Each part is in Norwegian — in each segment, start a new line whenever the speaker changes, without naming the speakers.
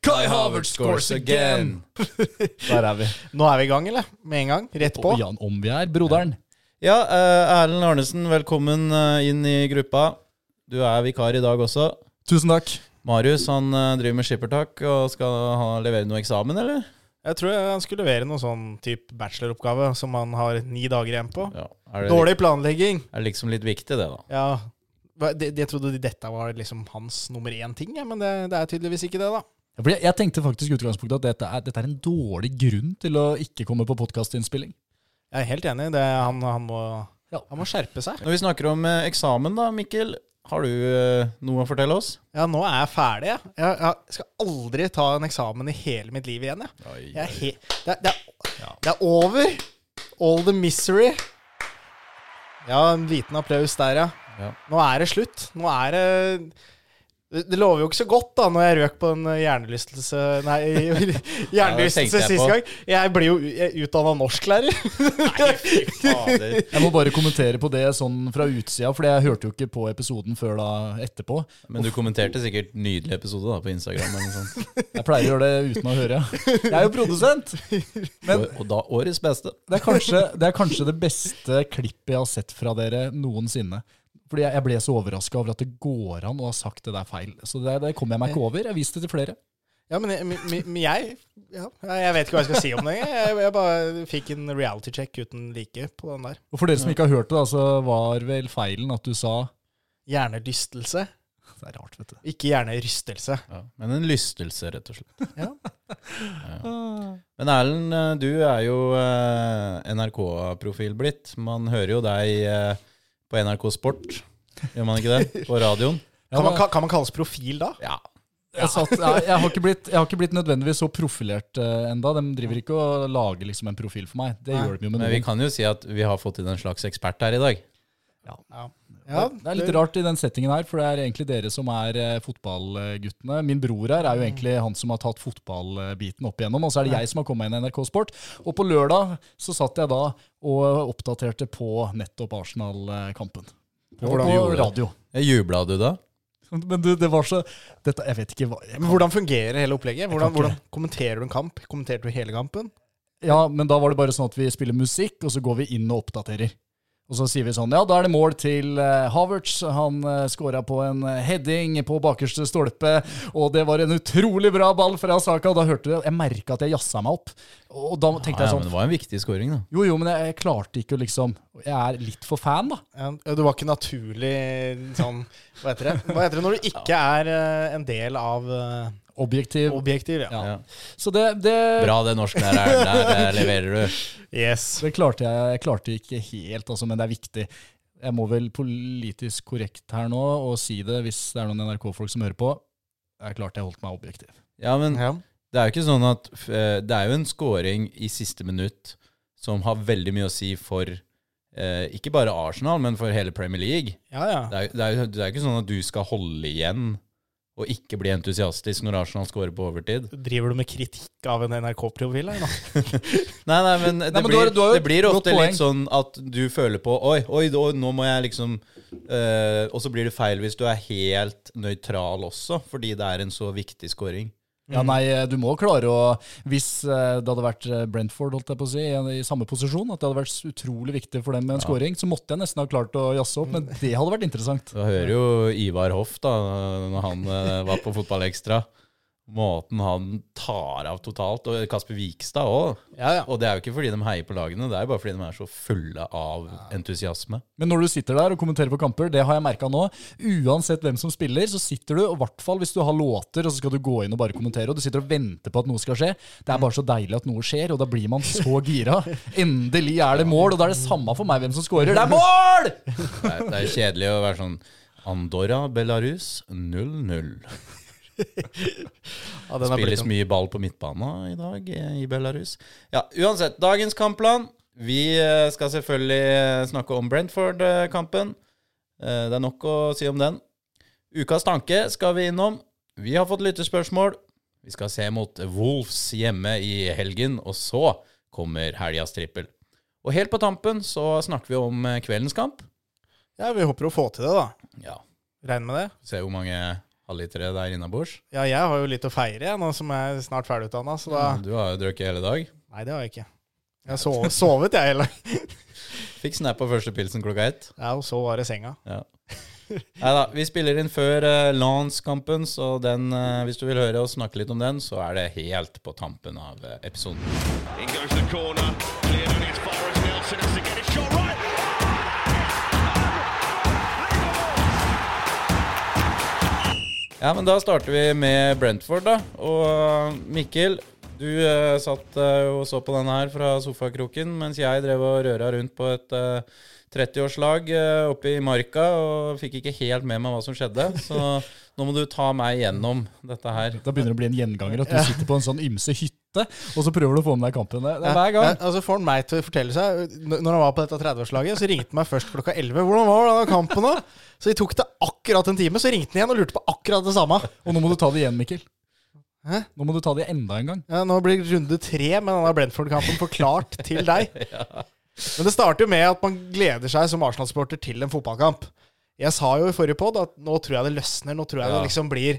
Kai Havertz scores again!
Der er vi.
Nå er vi i gang, eller? Med en gang? Rett på?
Og Jan om vi er, broderen.
Ja, eh, Erlend Arnesen, velkommen eh, inn i gruppa. Du er vikar i dag også.
Tusen takk.
Marius han eh, driver med skippertak og skal ha, levere noe eksamen, eller?
Jeg tror han skulle levere noen sånn type bacheloroppgave som han har ni dager igjen på.
Ja, er det,
Dårlig planlegging.
er det liksom litt viktig, det, da?
Ja. Hva- det- Jeg trodde dette var liksom hans nummer én ting, ja, men det, det er tydeligvis ikke det, da.
Ja, fordi jeg tenkte faktisk i utgangspunktet at dette er, dette er en dårlig grunn til å ikke komme på podkastinnspilling.
Jeg er helt enig. Det, er- han, han, må,
Ja.
han må skjerpe seg.
Når vi snakker om eh, eksamen, da, Mikkel, har du eh, noe å fortelle oss?
Ja, nå er jeg ferdig. Jeg, jeg, jeg skal aldri ta en eksamen i hele mitt liv igjen. Jeg. Jeg er he det, er, det,
Ja.
er, det er over. All the misery. Ja, en liten applaus der, ja.
Ja.
Nå er det slutt. Nå er det det, det lover jo ikke så godt, da, når jeg røk på en eh, hjernelystelse Nei,
tenkte
hjernelystelse
jeg
sist
på.
gang. Jeg blir jo utdanna norsklærer.
Fader.
Jeg må bare kommentere på det sånn fra utsida, for jeg hørte jo ikke på episoden før da etterpå.
Men du kommenterte sikkert nydelig episode da på Instagram. eller noe sånt.
Jeg pleier å gjøre det uten å høre. Jeg er jo produsent! Men
Og, og da årets beste.
det er kanskje det, er kanskje det beste klippet jeg har sett fra dere noensinne. Fordi jeg jeg ble så overraska over at det går an å ha sagt det der feil. Så det, det kommer jeg meg ikke over. Jeg har vist det til flere.
Ja, men jeg, men- men jeg ja, Jeg vet ikke hva jeg skal si om det. engang. Jeg, jeg bare fikk en reality check uten like på den der.
Og for dere som ikke har hørt det, da, så var vel feilen at du sa
Hjernerystelse,
Det er rart, vet du.
ikke hjernerystelse.
Ja, men en lystelse, rett og slett.
Ja.
Ja. Men Erlend, eh, du er jo eh, NRK-profil blitt. Man hører jo deg eh, på NRK Sport, gjør man ikke det? På radioen.
Kan man, ka- kan man kalles profil da?
Ja.
Jeg, satt, jeg, jeg, har ikke blitt, jeg har ikke blitt nødvendigvis så profilert uh, enda. De driver ikke og lager liksom, en profil for meg. Det
Nei.
gjør de jo med
Men vi
noen.
kan jo si at vi har fått inn en slags ekspert her i dag.
Ja.
Det er litt rart i den settingen her, for det er egentlig dere som er eh, fotballguttene. Min bror her er jo egentlig han som har tatt fotballbiten opp igjennom, og så er det jeg som har kommet inn i NRK Sport. Og på lørdag så satt jeg da og oppdaterte på nettopp Arsenal-kampen. På
Hvordan gjorde du det?
radio.
Jubla Eh, du da?
Men du, det var så dette, Jeg vet ikke hva jeg
Men hvordan fungerer hele opplegget?
Jeg kan
Hvordan,
ikke-
hvordan kommenterer du en kamp? Kommenterte du hele kampen?
Ja, men da var det bare sånn at vi spiller musikk, og så går vi inn og oppdaterer. Og så sier vi sånn, ja, da er det mål til eh, Havertz. Han uh, skåra på en eh, heading på bakerste stolpe, og det var en utrolig bra ball fra Saka. Og da hørte du, jeg merka at jeg jazza meg opp. Og da tenkte
Ja,
jeg
men
sånn,
det var en viktig scoring, da.
jo, jo, men jeg, jeg klarte ikke å liksom Jeg er litt for fan, da.
Ja, Du var ikke naturlig sånn Hva heter det Hva heter det når du ikke er eh, en del av eh,
Objektiv.
objektiv? Ja.
ja.
Ja.
Så det, det
Bra det norsklæreren der eh, leverer du.
Yes.
Det klarte jeg, jeg klarte ikke helt, altså, men det er viktig. Jeg må vel politisk korrekt her nå og si det hvis det er noen NRK-folk som hører på. Jeg klarte jeg holdt meg objektiv.
Ja, men
Ja.
Det er jo ikke sånn at f- eh, Det er jo en scoring i siste minutt som har veldig mye å si for eh, ikke bare Arsenal, men for hele Premier League.
ja,
Det
ja.
er, det, er, jo- det er ikke sånn at du skal holde igjen og ikke bli entusiastisk når Arsenal scorer på overtid.
Driver du med kritikk av en NRK-profil? her nå?
Nei, nei, men det,
Nei, men du
blir,
har- du har jo
det blir
et godt
ofte
poeng.
litt sånn at du føler på Oi, oi, oi nå må jeg liksom eh, Og så blir det feil hvis du er helt nøytral også, fordi det er en så viktig scoring.
Ja, nei, eh, du må klare å Hvis eh, det hadde vært eh, Brentford holdt jeg på å si, i- i samme posisjon, at det hadde vært s- utrolig viktig for dem med en scoring, så måtte jeg nesten ha klart å jazze opp, men det hadde vært interessant.
Da hører jo Ivar Hoff, da, når han eh, var på Fotballekstra, måten han tar av totalt. Og Kasper Vikstad òg.
Ja, ja.
Og det er jo ikke fordi de heier på lagene, det er jo bare fordi de er så fulle av entusiasme.
Men når du sitter der og kommenterer på kamper, det har jeg merka nå, uansett hvem som spiller, så sitter du, og i hvert fall hvis du har låter, og så skal du gå inn og bare kommentere, og du sitter og venter på at noe skal skje. Det er bare så deilig at noe skjer, og da blir man så gira. Endelig er det mål, og da er det samme for meg hvem som scorer. Det er mål!
Det er, det er kjedelig å være sånn Andorra, Belarus 0-0.
Ja, den er
Spilles
blitt-
mye ball på midtbanen i dag eh, i Belarus. Ja, uansett. Dagens kampplan. Vi eh, skal selvfølgelig eh, snakke om Brentford-kampen. Eh, Det er nok å si om den. Ukas tanke skal vi innom. Vi har fått lyttespørsmål. Vi skal se mot Wolves hjemme i helgen, og så kommer helgas trippel. Og helt på tampen så snakker vi om eh, kveldens kamp.
ja, vi håper å få til det, da.
Ja,
Regner med det.
se hvor mange alle de tre der innabords.
Ja, jeg har jo litt å feire, jeg, nå som jeg er snart ferdigutdanna. Så da
Du har jo drukket hele dag.
Nei, det har jeg ikke. Jeg har sovet, sovet jeg hele
Fikk snap på første pilsen klokka ett.
Ja, og så var det senga.
Nei da, vi spiller inn før uh, Lance-kampen, så den, eh, hvis du vil høre oss snakke litt om den, så er det helt på tampen av eh, episoden.
In goes the corner. Cleared on as far as Nelson has to get it shot right.
Ja, men da starter vi med Brentford, da. Og eh, Mikkel, du eh, satt eh, og så på den her fra sofakroken mens jeg drev og røra rundt på et eh, 30-årslag eh, oppe i marka og fikk ikke helt med meg hva som skjedde. Så nå må du ta meg gjennom dette her.
Da begynner det å bli en gjenganger at du sitter på en sånn ymse hytte, og så prøver du å få med deg kampen. Det er hver
Ja,
gang.
altså får han meg til å fortelle seg n- Når han var på dette 30-årslaget, så ringte han meg først klokka 11. 'Hvordan var denne kampen, da?' Så de tok det akkurat en time, så ringte han igjen og lurte på akkurat det samme.
Og nå må du ta det igjen, Mikkel.
Hæ?
Nå må du ta det enda en gang.
Ja, nå blir runde tre med denne Brentford-kampen forklart til deg. Men det starter jo med at man gleder seg som Arsenal-sporter til en fotballkamp. Jeg sa jo i forrige pod at nå tror jeg det løsner. Nå tror jeg
Ja.
det liksom blir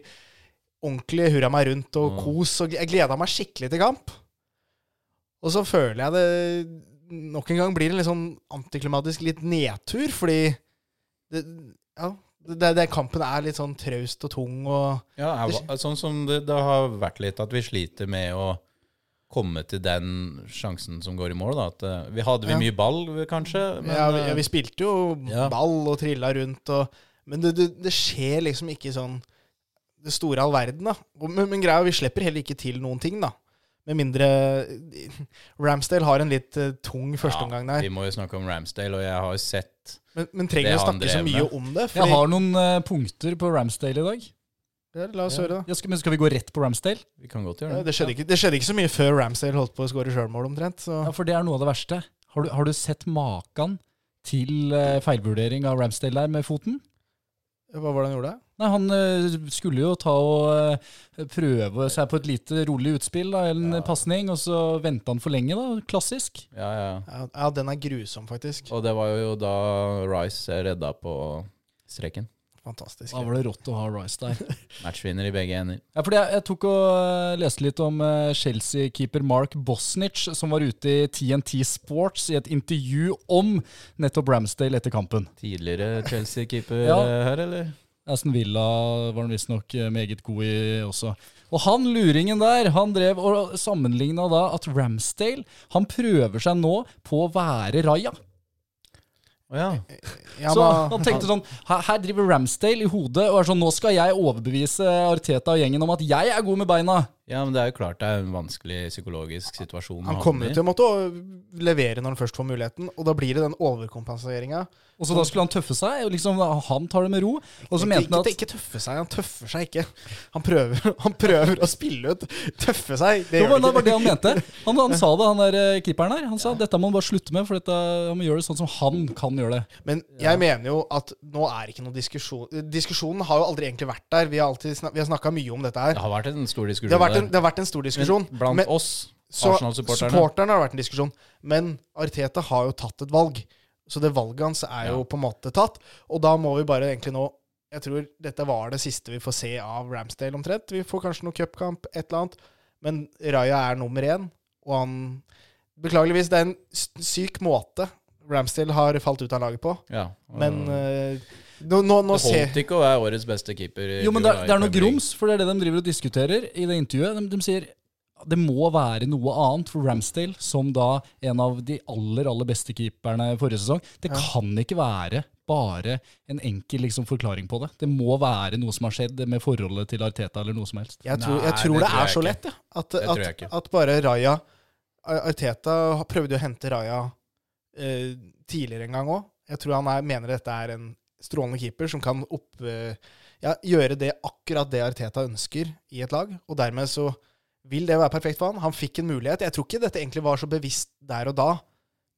ordentlig hurra meg rundt og kos. Og jeg gleda meg skikkelig til kamp. Og så føler jeg det nok en gang blir en litt sånn antiklimatisk litt nedtur, fordi det, ja, det, det, kampen er litt sånn traust og tung og
Ja, jeg, var- sånn som det, det har vært litt, at vi sliter med å komme til den sjansen som går i mål. da. At, eh, vi hadde vi
Ja.
mye ball, kanskje? Men,
ja, vi, ja,
eh,
vi spilte jo
ja.
ball og trilla rundt, og, men det, det, det skjer liksom ikke sånn det store all verden. da. Og- Men, men greia, er, vi slipper heller ikke til noen ting, da. Med mindre eh, Ramsdale har en litt eh, tung førsteomgang
Ja,
der.
vi må jo snakke om Ramsdale, og jeg har jo sett
Men, men
det
trenger å
har han
snakke så
drevet
mye
med.
om det.
Jeg
Fordi,
har noen eh, punkter på Ramsdale i dag.
ja, la oss høre, da.
Ja, skal, men skal vi gå rett på Ramsdale?
Vi kan godt gjøre
Ja,
det.
Det skjedde, ikke, det skjedde ikke så mye før Ramsdale holdt på å skåre sjølmål, omtrent. Så.
Ja, for det er noe av det verste. Har du, har du sett maken til eh, feilvurdering av Ramsdale der med foten?
Hva var det han gjorde?
Nei, Han eh, skulle jo ta og eh, prøve seg på et lite rolig utspill da, eller en pasning, og så venta han for lenge. da, Klassisk.
Ja, ja.
Ja, ja, den er grusom, faktisk.
Og det var jo da Rice redda på streken.
Fantastisk.
Da var det rått å ha Rice der.
Matchvinner i begge ender.
Ja, fordi jeg, jeg tok og eh, leste litt om eh, Chelsea-keeper Mark Bosnich, som var ute i TNT Sports i et intervju om nettopp Ramsdale etter kampen.
Tidligere Chelsea-keeper
Ja.
eh, her, eller?
Aston Villa var han visstnok eh, meget god i også. Og han luringen der, han drev og sammenligna da at Ramsdale Han prøver seg nå på å være Raja.
Å
Eh,
ja.
Ja,
Så
men-
han tenkte sånn Her, her driver Ramsdale i hodet og er sånn Nå skal jeg overbevise Arteta og gjengen om at jeg er god med beina.
ja, men det er jo klart det er en vanskelig psykologisk situasjon.
Han kommer jo til å måtte å levere når han først får muligheten, og da blir det den overkompenseringa.
Og så da skulle han tøffe seg, og liksom han tar det med ro. Og så mente
Ikke,
han
ikke,
at
ikke tøffe seg, han tøffer seg ikke. Han prøver, han prøver å spille ut. Tøffe seg, det
det
gjør
var,
han
det var
ikke.
det han mente. Han, han sa det, han der eh, keeperen her. Han sa dette må han bare slutte med, for dette, han må gjøre det sånn som han kan gjøre det.
Men jeg mener jo at nå er ikke noe diskusjon Diskusjonen har jo aldri egentlig vært der. Vi har, alltid snak, vi har snakka mye om dette her.
Det har vært en stor diskusjon
Det har vært en,
der.
det har vært en stor diskusjon.
Men Blant
Men-
oss,
Så
Arsenal-supporterne.
supporterne har vært en diskusjon. Men Arteta har jo tatt et valg. Så det valget hans er jo
Ja.
på en måte tatt. Og da må vi bare egentlig nå Jeg tror dette var det siste vi får se av Ramsdale omtrent. Vi får kanskje noe cupkamp, et eller annet. Men Raja er nummer én, og han Beklageligvis, det er en s- syk måte Ramsdale har falt ut av laget på.
Ja. og-
Men eh, nå, nå, nå
Mm. det
ser
holdt ikke å være årets beste keeper. i
Jo, men det, er-
fjor,
det er
da, i
noe
Premier League.
grums, for det er det de driver og diskuterer i det intervjuet. De, de sier det må være noe annet for Ramsdale, som da en av de aller, aller beste keeperne forrige sesong. Det kan ikke være bare en enkel liksom, forklaring på det. Det må være noe som har skjedd med forholdet til Arteta, eller noe som helst.
Jeg tror, jeg
Nei,
tror
det tror
det,
jeg
er så
ikke.
lett, ja. At,
Det tror jeg
at,
ikke.
at bare Raja Ar- Arteta har- prøvde jo å hente Raja eh, tidligere en gang òg. Jeg tror han er, mener dette er en strålende keeper som kan opp, eh, ja, gjøre det akkurat det Arteta ønsker i et lag. Og dermed så vil det være perfekt for han. Han fikk en mulighet. Jeg tror ikke dette egentlig var så bevisst der og da.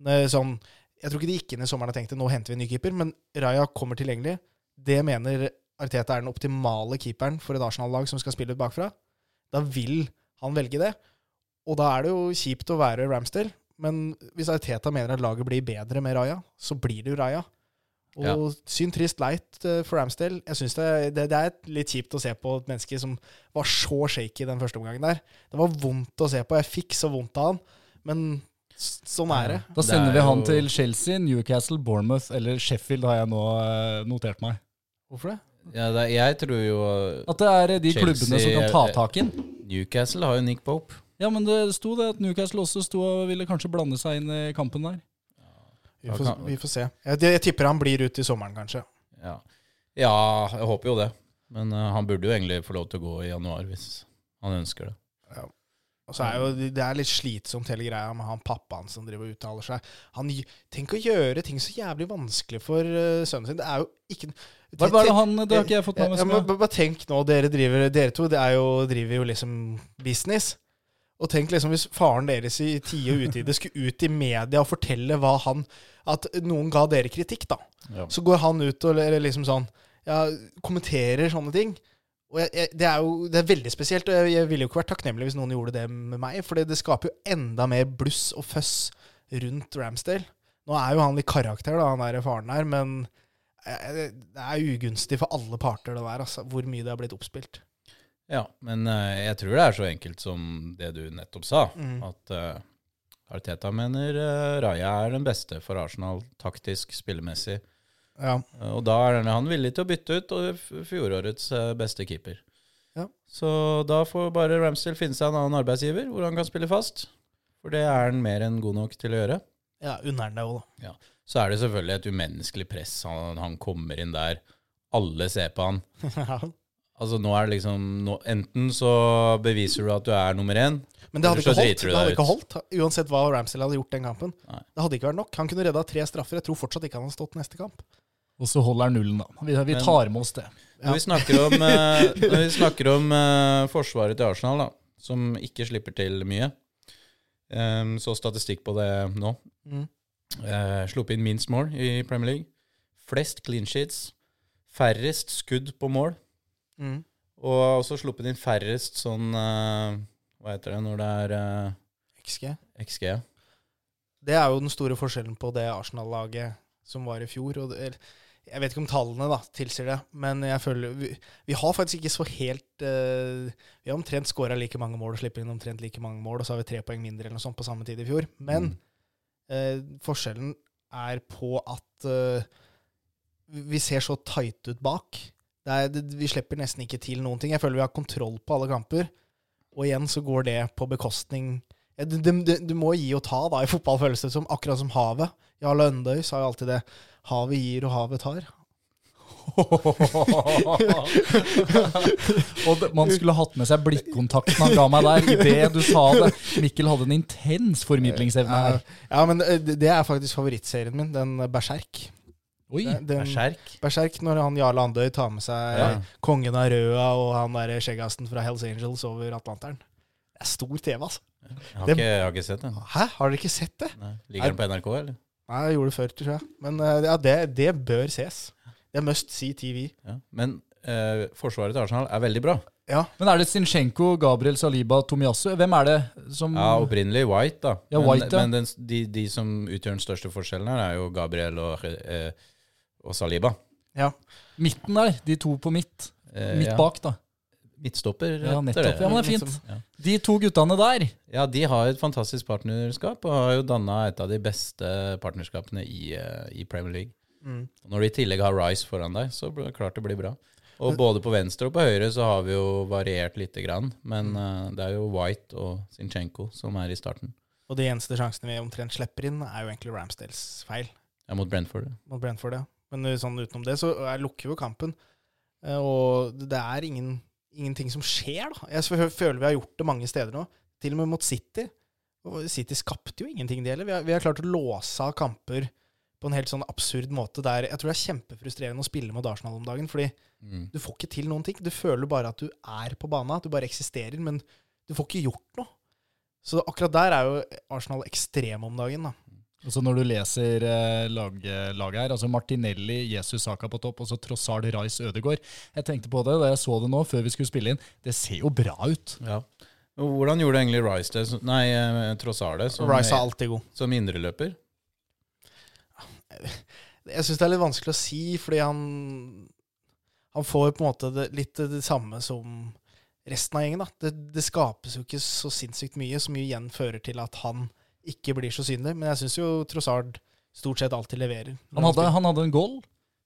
Eh, Sånn, jeg tror ikke de gikk inn i sommeren og tenkte nå henter vi en ny keeper, men Raja kommer tilgjengelig. Det mener Arteta er den optimale keeperen for et Arsenal-lag som skal spille ut bakfra. Da vil han velge det. Og da er det jo kjipt å være Ramsdale, men hvis Arteta mener at laget blir bedre med Raja, så blir det jo Raja. Og
Ja.
synd trist leit eh, for Ramsdale. Jeg synes det, det, det er litt kjipt å se på et menneske som var så shaky den første omgangen der. Det var vondt å se på. Jeg fikk så vondt av han. Men s- sånn er det.
Da
Det
sender
er
vi han
jo-
til Chelsea, Newcastle, Bournemouth eller Sheffield, har jeg nå eh, notert meg.
Hvorfor det?
Ja, det, jeg tror jo
At det er eh, de
Chelsea eh,
klubbene som
er-
kan ta tak i den.
Newcastle har jo Nick Pope.
Ja, men det sto det at Newcastle også sto og ville kanskje blande seg inn i kampen der.
Vi
Da
får,
kan-
vi får se. Jeg, jeg tipper han blir ut i sommeren, kanskje.
Ja, ja jeg håper jo det. Men eh, han burde jo egentlig få lov til å gå i januar hvis han ønsker det.
Og så er jo, Det er litt slitsomt, hele greia med han pappaen som driver og uttaler seg. Han, gj- tenk å gjøre ting så jævlig vanskelig for eh, sønnen sin. Det er jo ikke
Hva hva er det han Det har ikke jeg fått med
Ja,
meg.
ja,
så
men
mye.
bare- bare tenk nå, dere, driver, dere to det er jo, driver jo liksom business. Og tenk liksom hvis faren deres i tide og utide skulle ut i media og fortelle hva han At noen ga dere kritikk, da.
Ja.
Så går han ut og eller liksom sånn ja, kommenterer sånne ting. Og jeg, jeg, det er jo det er veldig spesielt, og jeg, jeg ville jo ikke vært takknemlig hvis noen gjorde det med meg, for det skaper jo enda mer bluss og føss rundt Ramsdale. Nå er jo han litt karakter, da, han der faren her, men eh, det er ugunstig for alle parter, det der, altså, hvor mye det har blitt oppspilt.
Ja, men eh, jeg tror det er så enkelt som det du nettopp sa.
Mm.
At eh, Arteta mener eh, Raja er den beste for Arsenal taktisk, spillemessig.
Ja.
Eh, og da er han villig til å bytte ut og f- fjorårets eh, beste keeper.
Ja.
Så da får bare Ramsdale finne seg en annen arbeidsgiver hvor han kan spille fast. For det er han mer enn god nok til å gjøre.
ja Unner han deg jo, da.
så er det selvfølgelig et umenneskelig press. Han, han kommer inn der, alle ser på han. Altså nå er det liksom, nå, Enten så beviser du at du er nummer én.
Men det hadde,
Så
ikke holdt.
driter du
det hadde
deg
ikke
ut.
holdt, uansett hva Ramsdale hadde gjort den kampen.
Nei.
Det hadde ikke vært nok. Han kunne redda tre straffer. Jeg tror fortsatt ikke han hadde stått neste kamp.
Og så holder han nullen, da. Vi, vi
Men-
tar med oss det.
Ja.
Når vi snakker om, eh, når vi snakker om eh, forsvaret til Arsenal, da, som ikke slipper til mye Ehm, Så statistikk på det nå.
Mm.
Eh, sluppet inn minst mål i Premier League. Flest clean sheets. Færrest skudd på mål.
Mm.
Og også sluppet inn færrest sånn eh, Hva heter det når det er
XG.
eh, XG?
Det er jo den store forskjellen på det Arsenal-laget som var i fjor. Og det, eller, jeg vet ikke om tallene da, tilsier det, men jeg føler vi, vi har faktisk ikke så helt eh, Vi har omtrent skåra like mange mål og slipper inn omtrent like mange mål, og så har vi tre poeng mindre eller noe sånt på samme tid i fjor. Men
Mm.
eh, forskjellen er på at eh, vi ser så tight ut bak. Det er, det, vi slipper nesten ikke til noen ting. Jeg føler vi har kontroll på alle kamper. Og igjen så går det på bekostning ja, Du, du, du- du må gi og ta da, i fotball, føles det som. Akkurat som havet. Jarle Øndøy sa jo alltid det. Havet gir, og havet tar.
og det, man skulle hatt med seg blikkontakten han ga meg der, idet du sa det. Mikkel hadde en intens formidlingsevne her.
Ja, men eh, det det er faktisk favorittserien min, den eh, Berserk.
Oi,
Den, den,
Berserk.
Berserk, når han Jarle Andøy tar med seg
Ja.
eh, kongen av Røa og han derre skjeggasten fra Hells Angels over Atlanteren. Det er stor TV, altså.
Jeg har,
det-
ikke, jeg har ikke sett den.
Hæ, har dere ikke sett det?
Nei. Ligger den på NRK, eller?
Nei, jeg gjorde det før, tror jeg. Men eh, ja, det, det bør ses. Det er must see TV.
Ja. Men eh, forsvaret til Arsenal er veldig bra.
Men er det Zinchenko, Gabriel Saliba, Tomiyasu? Hvem er det som
Ja, Opprinnelig White, da.
Mm. Ja,
men
White, ja.
men den, de, de som utgjør den største forskjellen her, er jo Gabriel og, eh, og Saliba.
Midten der, de to på midt.
Eh,
Midt
ja.
bak, da.
Midtstopper.
Ja,
heter
nettopp. Ja,
det.
men det er fint.
Ja.
De to guttene der.
Ja, de har et fantastisk partnerskap, og har jo danna et av de beste partnerskapene i, eh, i Premier League.
Mm.
Og Når du i tillegg har Rice foran deg, så blir det klart det blir bra. Og både på venstre og på høyre så har vi jo variert lite grann, men
Mm.
eh, det er jo White og Zinchenko som er i starten.
Og de eneste sjansene vi omtrent slipper inn, er jo egentlig Ramsdales feil
Ja, mot Brentford. ja.
mot Brentford. Ja. Men eh, sånn utenom det, så eh, lukker jo kampen. Eh, Og det er ingen, ingenting som skjer, da. Jeg s- føler vi har gjort det mange steder nå. Til og med mot City. Og City skapte jo ingenting, det heller. Vi har, vi har klart å låse av kamper på en helt sånn absurd måte der Jeg tror det er kjempefrustrerende å spille mot Arsenal om dagen, fordi
Mm.
Du får ikke til noen ting. Du føler bare at du er på banen, at du bare eksisterer, men du får ikke gjort noe. Så akkurat der er jo Arsenal ekstreme om dagen, da.
Og så når du leser eh, lag, laget her, altså Martinelli, Jesus Saka på topp, og så Trossard, Rice, Ødegaard. Jeg tenkte på det da jeg så det nå, før vi skulle spille inn. Det ser jo bra ut.
Ja. Og hvordan gjorde egentlig Rice det? som- Nei, eh, Trossard det, som,
Rice er alltid god.
som indreløper?
Jeg syns det er litt vanskelig å si, fordi han Han får på en måte det, litt det samme som resten av gjengen. Da. Det, det skapes jo ikke så sinnssykt mye, som jo igjen fører til at han ikke blir så synlig. Men jeg syns jo Trossard stort sett alltid leverer.
Han hadde, han hadde en goal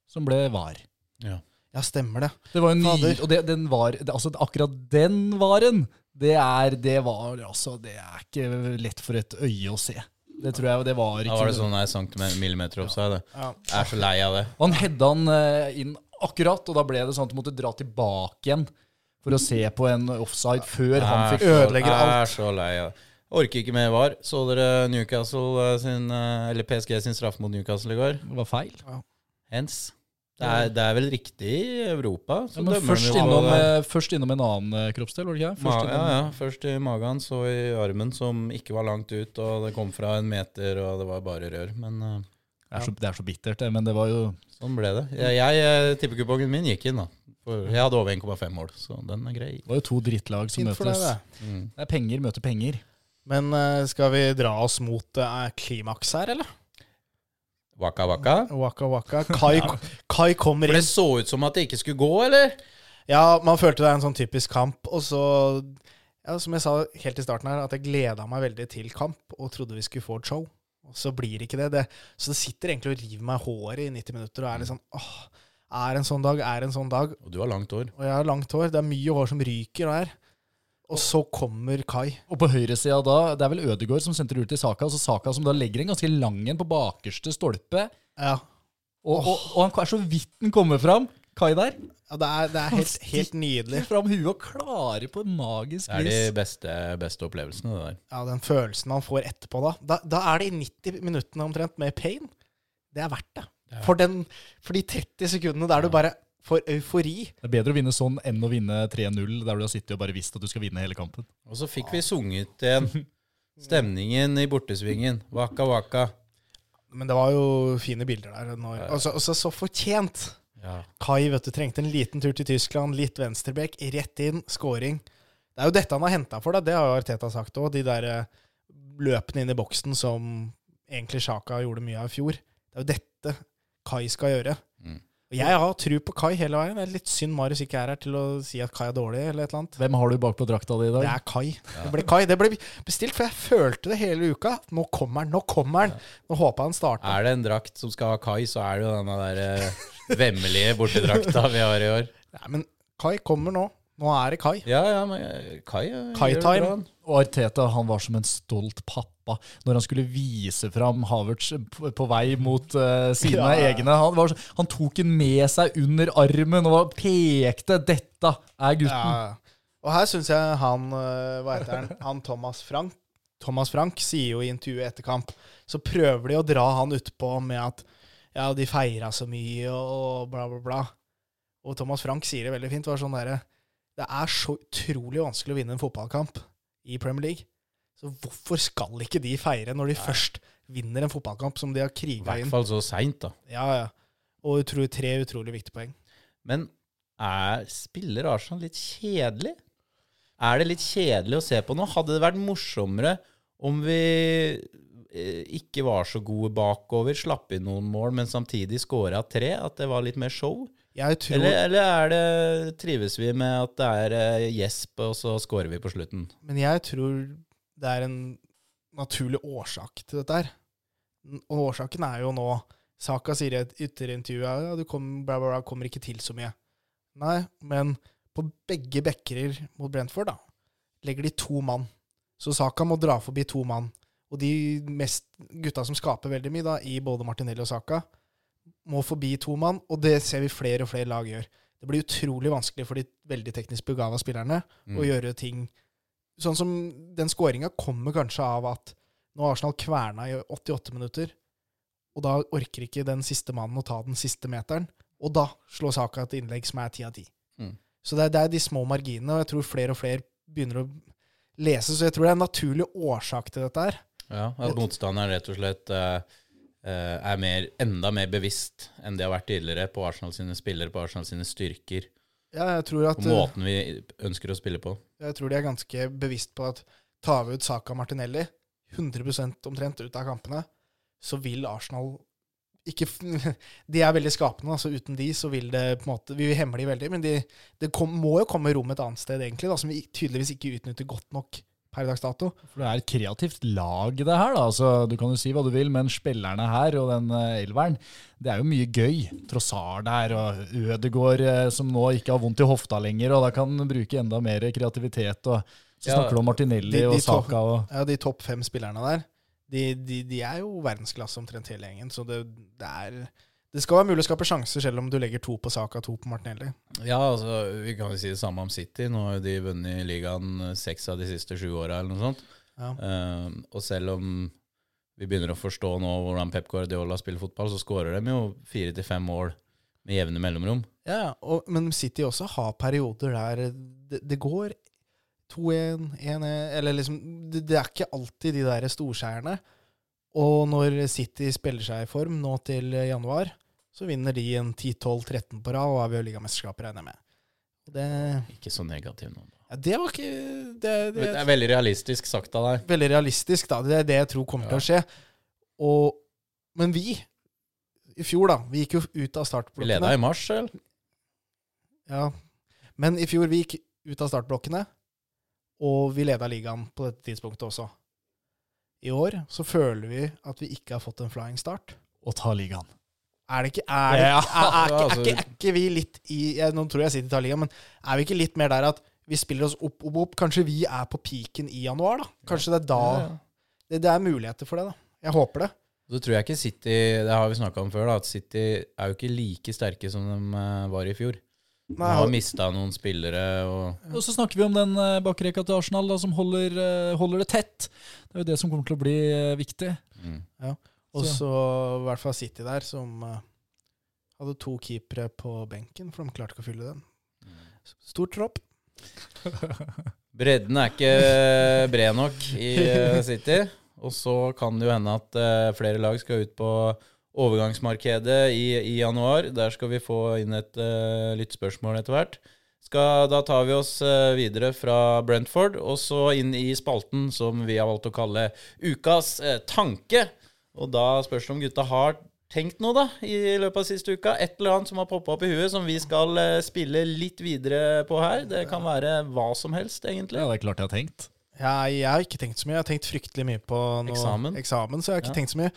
som ble var.
Ja, stemmer det.
Det var jo ny,
Fader.
og det, den var, det, altså akkurat den varen, det er, det var, altså, det er ikke lett for et øye å se. Det tror jeg, det var
Da
ikke.
var det sånn nei, centimeter, millimeter offside. det.
Ja.
Jeg er så lei av det.
Og han hedda han eh, inn akkurat, og da ble det sånn at du måtte dra tilbake igjen for å se på en offside før han
Jeg
fikk
er så-
Ødelegger
Jeg
alt.
er så lei av det. Orker ikke mer var. Så dere Newcastle eh, sin, eh, eller PSG sin straffe mot Newcastle i går?
Det var feil.
Hens. Det er, det er vel riktig i Europa? Så
Ja, men
dømmer
først
de jo
innom,
det.
eh, først innom en annen eh, kroppsdel, var det ikke? det? Først
Ma ja,
innom,
ja. Først i magen, så i armen, som ikke var langt ut. Og det kom fra en meter, og det var bare rør. Men eh,
Det, er så, det er så bittert, det, men det var jo
sånn ble det. Jeg, jeg eh, tippekupongen min gikk inn, da. For jeg hadde over 1,5 mål, så den er grei.
Det var jo to drittlag som
Fint for deg,
møtes.
det.
Mm.
Det er penger møter penger.
Men eh, skal vi dra oss mot eh, klimaks her, eller?
Waka waka.
Waka waka. Kai, Kai kommer
For det
inn.
så ut som at det ikke skulle gå, eller?
Ja, man følte det er en sånn typisk kamp. Og så, ja, som jeg sa helt i starten her, at jeg gleda meg veldig til kamp og trodde vi skulle få et show. Og så blir det ikke det. det så det sitter egentlig og river meg i håret i 90 minutter og er litt sånn åh, er en sånn dag, er en sånn dag.
Og du har langt hår.
Og jeg har langt hår. Det er mye hår som ryker der. Og så kommer Kai.
Og på høyresida da, det er vel Ødegaard som sendte det ut til Saka, altså Saka som da legger en ganske lang en på bakerste stolpe,
Ja.
og, og, og han er så vidt den kommer fram, Kai der,
ja det er, det er helt, helt nydelig.
legger fram huet og klarer på magisk
Det er de
vis.
beste, beste opplevelsene, det der.
Ja, den følelsen man får etterpå da. Da, da er det i 90 minuttene omtrent med pain. Det er verdt det. For, den, for de 30 sekundene der du bare får eufori.
Det er bedre å vinne sånn enn å vinne 3-0, der du har sittet og bare visst at du skal vinne hele kampen.
Og så fikk vi sunget igjen stemningen i bortesvingen. Waka waka.
Men det var jo fine bilder der. Når, og så- og så- så fortjent.
Ja.
Kai vet du, trengte en liten tur til Tyskland, litt venstrebekk, rett inn, scoring. Det er jo dette han har henta for deg, det har jo Arteta sagt òg. De der eh, løpene inn i boksen som egentlig Sjaka gjorde mye av i fjor. Det er jo dette Kai skal gjøre.
Mm.
Og jeg har tru på Kai hele veien. Det er litt synd Marius ikke er her til å si at Kai er dårlig, eller et eller annet.
Hvem har du bak på drakta di i dag?
Det er Kai. Det ble Kai. Det ble bestilt, for jeg følte det hele uka. Nå kommer han, nå kommer han! Nå håpa han starta.
Er det en drakt som skal ha kai, så er det jo denne der eh, vemmelige bortedrakta vi har i år.
Nei, men Kai kommer nå. Nå er det Kai.
Ja, ja, men eh, kai eh,
Kai
gjør det
time.
bra, han.
Og Arteta han var som en stolt pappa når han skulle vise fram Havertz på, på vei mot eh, sine
Ja.
egne. Han, var, så- han tok den med seg under armen og var- pekte 'dette er gutten'.
Ja. Og her syns jeg han eh, Hva heter han? Han Thomas Frank Thomas Frank sier jo i intervjuet etter kamp Så prøver de å dra han utpå med at ja, de feira så mye og bla, bla, bla. Og Thomas Frank sier det veldig fint. Var sånn derre Det er så utrolig vanskelig å vinne en fotballkamp i Premier League. Så hvorfor skal ikke de feire når de først vinner en fotballkamp som de har
I
kriga
hvert
inn?
fall så seint, da.
Ja, ja. Og utro- tre utrolig viktige poeng.
Men er, spiller Arsenal litt kjedelig? Er det litt kjedelig å se på nå? Hadde det vært morsommere om vi eh, ikke var så gode bakover, slapp inn noen mål, men samtidig scora tre? At det var litt mer show?
Jeg tror
Eller, eller er det, trives vi med at det er eh, gjesp, og så scorer vi på slutten?
Men jeg tror det er en naturlig årsak til dette her. N- Og årsaken er jo nå Saka sier i et ytterintervju ja, du kom, bla, bla, bla, kommer ikke til så mye. Nei, men på begge bekkerer mot Brentford da, legger de to mann. Så Saka må dra forbi to mann. Og de mest gutta som skaper veldig mye, da, i både Martinelli og Saka, må forbi to mann, og det ser vi flere og flere lag gjør. Det blir utrolig vanskelig for de veldig teknisk begava spillerne
Mm.
å gjøre ting Sånn som den skåringa kommer kanskje av at nå har Arsenal kverna i 88 minutter, og da orker ikke den siste mannen å ta den siste meteren, og da slår Saka et innlegg som er ti av ti.
Mm.
Så det er, det er de små marginene, og jeg tror flere og flere begynner å lese, så jeg tror det er en naturlig årsak til dette her.
Ja, At motstanderen rett og slett eh, eh, er mer, enda mer bevisst enn de har vært tidligere på Arsenal sine spillere, på Arsenal sine styrker,
Ja, jeg tror at
på måten vi ønsker å spille på.
Jeg tror de er ganske bevisst på at tar vi ut Saka og Martinelli 100 omtrent ut av kampene, så vil Arsenal ikke, f- de er veldig skapende. altså Uten de så vil det på en måte, Vi hemmer de veldig. Men de, det kom, må jo komme rom et annet sted, egentlig, da, som vi tydeligvis ikke utnytter godt nok per dags dato.
For det er et kreativt lag, det her. da. Altså, du kan jo si hva du vil, men spillerne her og den eh, elveren, det er jo mye gøy. Trossard der, og Ødegård eh, som nå ikke har vondt i hofta lenger, og da kan han bruke enda mer kreativitet. og Så
Ja,
snakker du om Martinelli
de- de
og
to-
Saka og
Ja, De topp fem spillerne der, de, de, de er jo verdensklasse omtrent hele gjengen. Så det, det er Det skal være mulig å skape sjanser, selv om du legger to på Saka to på Martinelli.
Ja, altså, vi kan jo si det samme om City. Nå har jo de vunnet ligaen eh, seks av de siste sju åra, eller noe sånt.
Ja.
Eh, og selv om vi begynner å forstå nå hvordan Pep Guardiola spiller fotball, så skårer de jo fire til fem mål med jevne mellomrom.
Ja, ja, og, men City også har perioder der det, det går 2-1, 1-1 Eller liksom det, det er ikke alltid de der storseierne. Og når City spiller seg i form nå til januar, så vinner de en 10-12-13 på rad og avgjør ligamesterskapet, regner jeg med. Og Det,
Ikke så negativ nå.
ja, det var ikke det,
Det
det,
er veldig realistisk sagt av deg.
Veldig realistisk, da. Det er det jeg tror kommer til å skje. Og, men vi, i fjor, da Vi gikk jo ut av
Vi
startblokkene.
leda i mars, eller?
Ja. Men i fjor vi gikk ut av startblokkene, og vi leda ligaen på dette tidspunktet også. I år så føler vi at vi ikke har fått en flying start.
å ta ligaen.
Er det ikke Er, det,
Ja,
er, er, er, ikke- er,
altså-
ikke- er ikke vi litt i jeg, Nå tror jeg jeg sitter i Italia, men er vi ikke litt mer der at vi spiller oss opp, opp, opp? Kanskje vi er på peaken i januar, da? Kanskje det er da Det, det er muligheter for det, da. Jeg håper det.
Så tror jeg ikke City Det har vi snakka om før, da, at City er jo ikke like sterke som de eh, var i fjor. De
Nei,
har mista noen spillere og
Og så snakker vi om den eh, bakrekka til Arsenal da, som holder, eh, holder det tett. Det er jo det som kommer til å bli eh, viktig.
mm.
Og så i hvert fall City der, som eh, hadde to keepere på benken, for de klarte ikke å fylle den.
Mm.
Stor tropp.
Bredden er ikke bred nok i eh, City. Og så kan det jo hende at eh, flere lag skal ut på overgangsmarkedet i, i januar. Der skal vi få inn et eh, lyttspørsmål etter hvert. Skal, da tar vi oss eh, videre fra Brentford og så inn i spalten som vi har valgt å kalle ukas eh, tanke. Og da spørs det om gutta har tenkt noe da, i løpet av siste uka. Et eller annet som har poppa opp i huet, som vi skal eh, spille litt videre på her. Det kan være hva som helst, egentlig.
Ja, det er klart jeg har tenkt.
Jeg, jeg har ikke tenkt så mye. Jeg har tenkt fryktelig mye på noe,
Eksamen.
eksamen, så jeg har ikke
Ja.
tenkt så mye.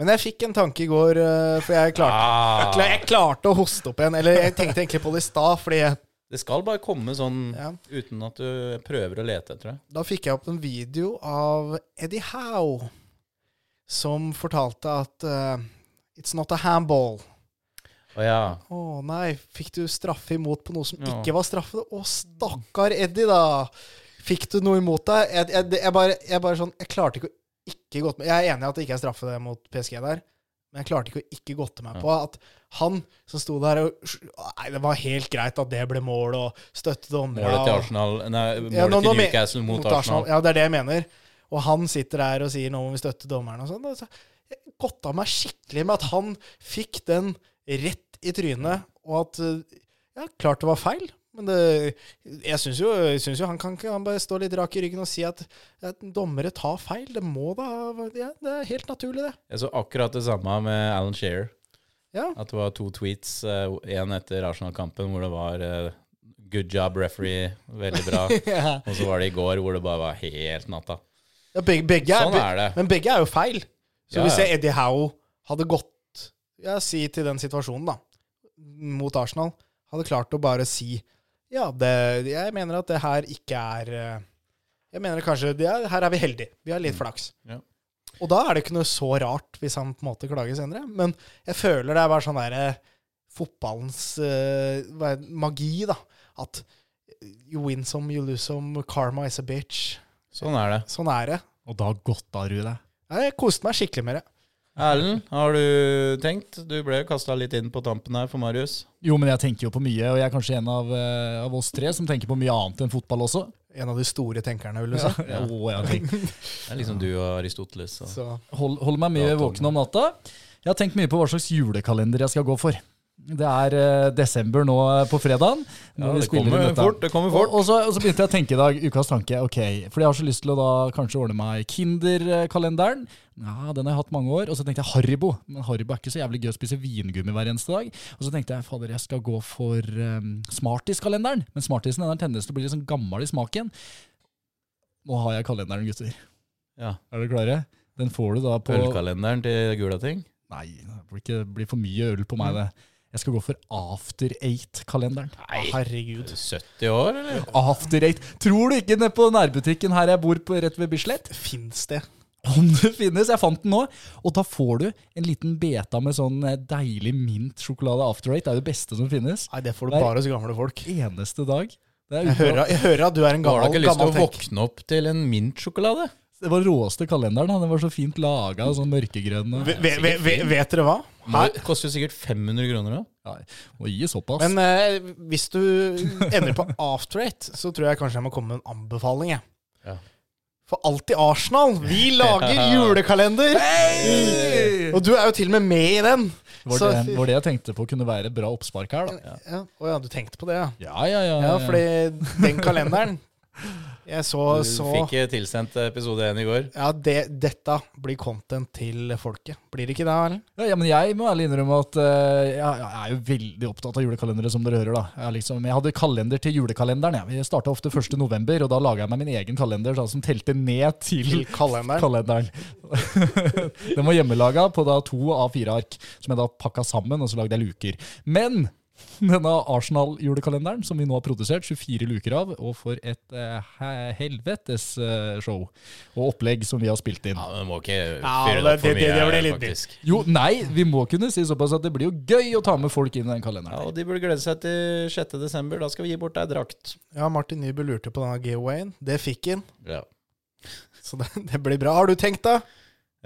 Men jeg fikk en tanke i går, eh, for jeg
Ah.
klarte, jeg, kla- jeg klarte å hoste opp igjen. Eller jeg tenkte egentlig på det i stad, fordi jeg,
Det skal bare komme sånn
Ja.
uten at du prøver å lete etter det.
da fikk jeg opp en video av Eddie Howe som fortalte at eh, It's not a handball.
Å ja.
Å nei, fikk du straffe imot på noe som
Ja.
ikke var straffe? Å, stakkar Eddie, da! Fikk du noe imot deg? Jeg, jeg, det- jeg, bare, jeg bare sånn Jeg klarte ikke å ikke gått med Jeg er enig i at det ikke er straffe det mot PSG der, men jeg klarte ikke å ikke godte meg på at han som sto der og Nei, det var helt greit at det ble mål, og støtte dommere
Målet til
og-
Arsenal Nei, målet
Ja, nå- nå
til
men-
Newcastle mot, Arsenal.
Ja, det er det jeg mener. Og han sitter der og sier 'nå må vi støtte dommeren' og sånn. og så- Jeg godta meg skikkelig med at han fikk den rett i trynet, og at eh, Ja, klart det var feil, men det, jeg syns jo, jeg synes jo han kan ikke han bare stå litt rak i ryggen og si at, at dommere tar feil. Det må da ja, Det er helt naturlig, det.
Jeg så akkurat det samme med Alan Shearer.
Ja.
At det var to tweets, én etter Arsenal-kampen hvor det var eh, 'good job, referee', veldig bra.
Ja,
Og så var det i går hvor det bare var helt natta.
begge, begge er,
Sånn er det.
Men begge er jo feil. Så
Ja,
hvis
ja.
jeg, Eddie Howe hadde gått ja, si til den situasjonen, da, mot Arsenal, hadde klart å bare si Ja, det, jeg mener at det her ikke er eh, Jeg mener kanskje det er, Her er vi heldige. Vi har litt flaks.
Mm. Ja.
Og da er det ikke noe så rart hvis han på en måte klager senere. Men jeg føler det er bare sånn derre fotballens eh, hva er det, magi, da. At eh, you win some, you lose some. Karma is a bitch.
Sånn er det.
Sånn er det.
Og da godta du deg.
Nei, Jeg koste meg skikkelig med det.
Erlend, har du tenkt? Du ble jo kasta litt inn på tampen her for Marius.
Jo, men jeg tenker jo på mye, og jeg er kanskje en av, eh, av oss tre som tenker på mye annet enn fotball også.
En av de store tenkerne, vil du si.
Ja. Og jeg har tenkt.
Det er liksom du og Aristoteles. Og.
Så
Hold, holder meg mye
Ja, Tom.
våken om natta. Jeg har tenkt mye på hva slags julekalender jeg skal gå for. Det er eh, desember nå eh, på fredagen.
Ja, det kommer fort. Det kommer fort.
Og, og, så, og så begynte jeg å tenke i dag, ukas tanke, ok, for jeg har så lyst til å da kanskje ordne meg Kinder-kalenderen. Ja, den har jeg hatt mange år. Og så tenkte jeg Haribo, men Haribo er ikke så jævlig gøy å spise vingummi hver eneste dag. Og så tenkte jeg, fader, jeg skal gå for um, Smarties-kalenderen. Men Smartisen den har en tendens til å bli litt sånn gammel i smaken. Nå har jeg kalenderen, gutter.
Ja.
Er dere klare? Den får du da på
Ølkalenderen til Gulating.
Nei, det blir, ikke, det blir for mye øl på meg, det. Jeg skal gå for After Eight-kalenderen.
Herregud.
70 år, eller?
After Eight. Tror du ikke nede på nærbutikken her jeg bor, på, rett ved Bislett?
Fins det?
Om det finnes! Jeg fant den nå. Og da får du en liten beta med sånn eh, deilig mintsjokolade. After Eight Det er det beste som finnes.
Nei, det får du
Nei.
bare hos gamle folk.
Eneste dag. Det, er
Jeg hører, jeg hører at du er
Har
en
du
gammel,
ikke lyst til
gammel
å
tenk.
våkne opp til en mintsjokolade?
det var råeste kalenderen. da. Den var så fint laga, sånn mørkegrønn. og-
Ve- ve- ve- ve- Vet dere hva?
Må- Det koster jo sikkert 500 kroner, da.
Ja, må gi såpass.
Men eh, hvis du ender på after eight, så tror jeg kanskje jeg må komme med en anbefaling. Jeg.
Ja.
For alltid Arsenal! Vi lager julekalender! Og du er jo til og med med i den.
det var,
så-
det, var det jeg tenkte på kunne være et bra oppspark her, da.
Ja. Å ja, du tenkte på det, ja.
Ja, ja, ja.
Ja, fordi den kalenderen Jeg så,
Du
så
fikk eh, tilsendt episode 1 i går.
Ja, det, dette blir content til folket. Blir det ikke det, Erlend?
Ja, ja, men jeg må ærlig innrømme at eh, jeg, jeg er jo veldig opptatt av julekalendere, som dere hører. da. Jeg, er liksom, jeg hadde kalender til julekalenderen. Jeg, jeg starta ofte 1. november, og da laga jeg meg min egen kalender da, som telte ned til
Til kalenderen.
kalenderen. Den var hjemmelaga på da to A4-ark, som jeg da pakka sammen, og så lagde jeg luker. Men denne Arsenal-julekalenderen, som vi nå har produsert 24 luker av, og for et eh, he- helvetes eh, show og opplegg som vi har spilt inn.
Ja, men du må ikke
Ja,
fyre det opp
det-
for
det- det
mye,
blir litt
faktisk.
Jo, nei, vi må kunne si såpass at det blir jo gøy å ta med folk inn i den
Ja,
kalenderen.
og de burde glede seg til 6. desember. Da skal vi gi bort deg drakt.
Ja, Martin Nybø lurte på denne giveawayen. Det fikk han,
Ja.
så det, det blir bra. Har du tenkt, da?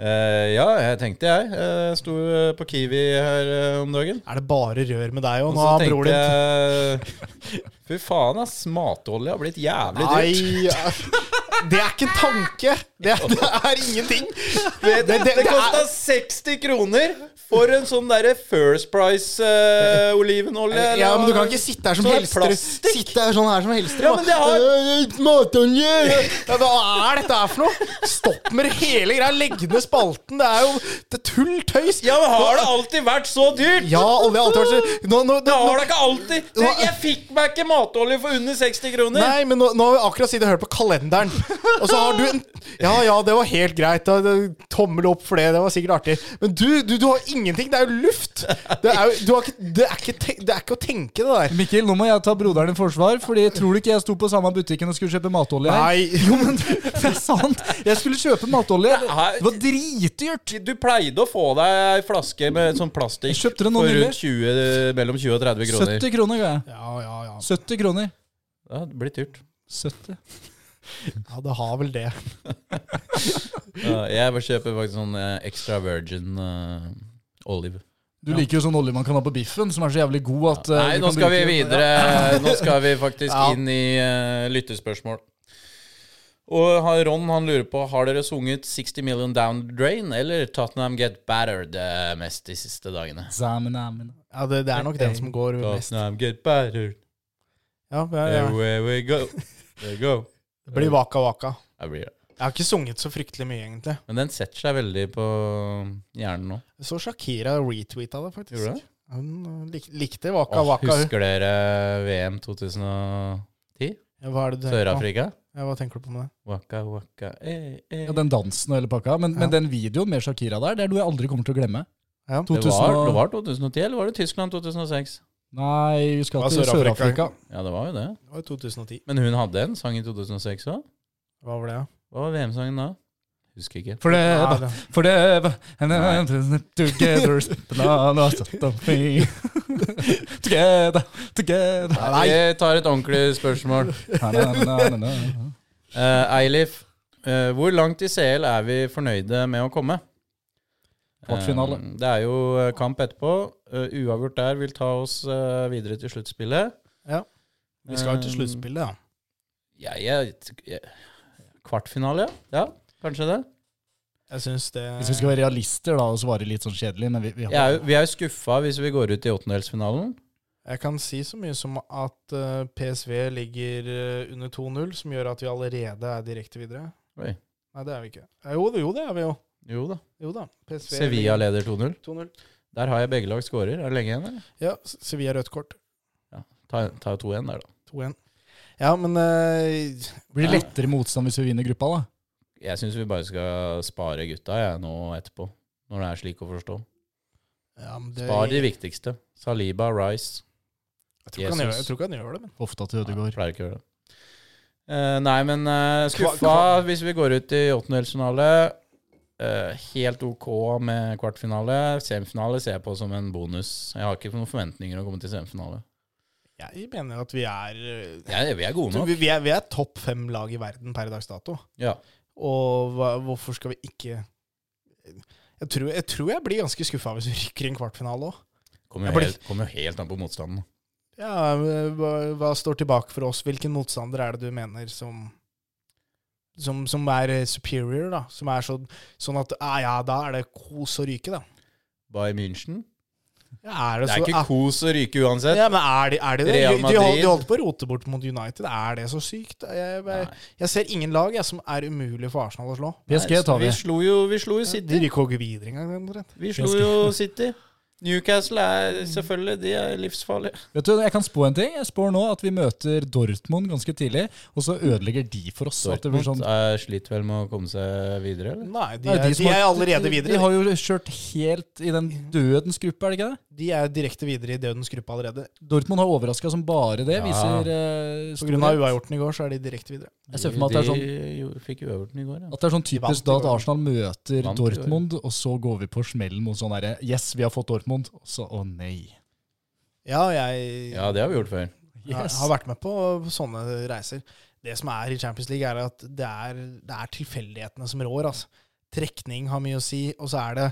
Eh, ja, jeg tenkte jeg. Uh, Sto eh, på Kiwi her eh, om dagen.
Er det bare rør med deg òg?
Og
Nå
så
har
tenkte
broren din
jeg Fy faen, ass. Matolje har blitt jævlig dyrt.
Nei, ja. det er ikke en tanke! Det er, det er ingenting!
Det, det,
det- det er-
kosta 60 kroner for en sånn derre First eh, Price-olivenolje.
Ja, men Du kan ikke sitte her som
Sånn
helstrø.
plastikk.
Sitte her sånn her som helstrø.
Ja, men det har-
Øh, Matolje! Ja, hva er dette her for noe? Stopp med det hele greia. Legg ned spalten. Det er jo det er tull tøys.
Ja, men har det alltid vært så dyrt?
Ja, olje har alltid vært så nå, nå,
Det
nå,
har det ikke alltid. Det,
Hva-
jeg fikk meg ikke matolje for under 60 kroner.
Nei, men nå, nå har vi akkurat sittet og hørt på kalenderen. Og så har du en Ja, ja, det var helt greit. Da, det, tommel opp for det. Det var sikkert artig. Men du, du, du har ingenting. Det er jo luft. Det er, jo, du har ikke, det, er ikke te, det er ikke å tenke, det der.
Mikkel, nå må jeg ta broderen i forsvar, Fordi tror du ikke jeg sto på samme butikken og skulle kjøpe matolje? her?
Nei.
Jo, men det er sant! Jeg skulle kjøpe matolje.
Nei.
Det var dritdyrt!
Du pleide å få deg ei flaske med sånn plastikk
Jeg kjøpte den nå
for
nylig.
rundt 20, mellom 20 og 30 kroner.
70 kroner ga jeg.
Ja, ja, ja.
70 kroner.
Det hadde blitt dyrt.
70.
Ja, det har vel det.
Ja, jeg bare kjøper faktisk sånn eh, extra virgin eh, olive.
Du liker jo sånn olje man kan ha på biffen, som er så jævlig god at eh,
Nei,
du
nå
kan
skal vi
bruke-
videre. Nå skal vi faktisk
Ja.
inn i eh, lyttespørsmål. Og har- Ron han lurer på har dere sunget 60 Million Down the Drain eller Tottenham Get Battered eh, mest de siste dagene?
Sammen, amen.
Ja, det, det er nok den som går mest.
Tottenham get battered,
Ja, ja, ja.
everywhere we go. There go.
Det blir Waka Waka.
Jeg blir det.
Jeg har ikke sunget så fryktelig mye, egentlig.
Men den setter seg veldig på hjernen nå.
Jeg så Shakira retweeta det, faktisk.
Gjorde det?
Hun eh, lik, likte Waka
Åh,
Waka. hun.
husker dere eh, VM 2010?
Ja, Hva er det du tenker på?
Sør-Afrika?
Ja, hva tenker du på med det?
Waka waka eh, eh.
Ja, den dansen og hele pakka. Men, men den videoen med Shakira der, det er noe jeg aldri kommer til å glemme.
Ja. Det
Det
2000
var,
og-
det var 2010, eller var det Tyskland 2006?
Nei, vi skal
Det
til
var
Sør-Afrika.
Sør-Afrika.
Ja, det var jo det.
Det var i 2010.
Men hun hadde en sang i 2006 òg?
Hva var det, ja?
Hva var VM-sangen da? Husker ikke.
For det,
Nei, det-
For det and
Nei.
then Together banana, something. Together, together
Nei.
Vi tar et ordentlig spørsmål.
Na, na, na, na, na.
Eh, Eilif, eh, hvor langt i CL er vi fornøyde med å komme?
Kvartfinale.
Eh, det er jo eh, kamp etterpå. Eh, uavgjort der vil ta oss eh, videre til sluttspillet.
Ja. Vi skal jo til
Eh,
sluttspillet, ja.
Ja, jeg, jeg, kvartfinale, ja. ja. Kanskje det.
Jeg syns det
Hvis vi skal være realister da, og svare litt sånn kjedelig, men vi, vi
Jeg er jo- Vi er jo skuffa hvis vi går ut i åttendelsfinalen.
Jeg kan si så mye som at eh, PSV ligger eh, under 2-0, som gjør at vi allerede er direkte videre.
Oi.
Nei, det er vi ikke. Eh, Jo, det- jo det er vi jo.
Jo da.
Jo da. PSV
Sevilla
ligger
leder 2-0.
2-0.
Der har jeg begge lag skårer. Er det lenge igjen, eller?
Ja, S- Sevilla rødt kort.
Ta, ta 2-1 der, da.
2-1. Ja, men eh,
Blir det lettere motstand hvis vi vinner gruppa, da?
Jeg syns vi bare skal spare gutta jeg, nå etterpå, når det er slik å forstå.
ja, men det,
Spar de viktigste. Saliba, Rice.
jeg, tror ikke han gjør,
Jesus.
jeg tror ikke han gjør det, men
Hofta til
Nei,
Ødegaard.
pleier ikke å gjøre det. Eh, nei, men eh, skuffa
Kva-
hvis vi går ut i åttendedelsfinale. Eh, helt OK med kvartfinale. Semifinale ser jeg på som en bonus. Jeg har ikke noen forventninger å komme til semifinale.
jeg mener at vi er eh,
Jeg, vi er gode nok.
vi, vi er, vi er topp fem lag i verden per dags dato.
Ja.
Og hva, hvorfor skal vi ikke jeg tror, jeg tror jeg blir ganske skuffa hvis vi rykker i en kvartfinale òg.
Kommer
Jeg
jo
blir-
helt, kommer jo helt an på motstanden.
Ja, eh, hva, hva står tilbake for oss? Hvilken motstander er det du mener som Som, som er eh, superior, da? Som er så, sånn at ah, ja, da er det kos å ryke, da.
Bayern München.
Ja, er det,
Det er
så,
ikke kos å ryke uansett.
ja, men er de, er de det?
Real
De, de, holdt,
Madrid.
de holdt på å rote bort mot United. Er det så sykt? Jeg, jeg,
Nei.
jeg ser ingen lag jeg, som er umulig for Arsenal å slå.
PSG tar vi.
Vi slo jo, vi slo jo
De
City.
rykker jo ikke videre engang, omtrent.
Vi slo jo City. Newcastle er selvfølgelig de er livsfarlige.
Vet du, Jeg kan spå en ting. Jeg spår nå at vi møter Dortmund ganske tidlig, og så ødelegger de for oss. At det blir sånn,
Dortmund er slitt vel med å komme seg videre, eller?
Nei, de,
Nei,
er,
som
de
har-
er allerede
De
videre.
har jo kjørt helt i den dødens gruppe, er det ikke det?
De er direkte videre i dødens gruppe allerede.
Dortmund har overraska som bare det.
Ja.
Viser eh,
På grunn av
storhet.
uavgjorten i går, så er de direkte videre.
Jeg ser for meg at det er sånn
De jo- fikk uavgjorten i går, ja.
at det er sånn
De vant
typisk da
i
at
går.
Arsenal møter
Vant i går.
Dortmund, og så går vi på smellen mot sånn derre Yes, vi har fått Dortmund. Og så å nei.
Ja, jeg
Ja, det har vi gjort før.
Yes.
Jeg har vært med på sånne reiser. Det som er i Champions League, er at det er, det er tilfeldighetene som rår. Altså. Trekning har mye å si, og så er det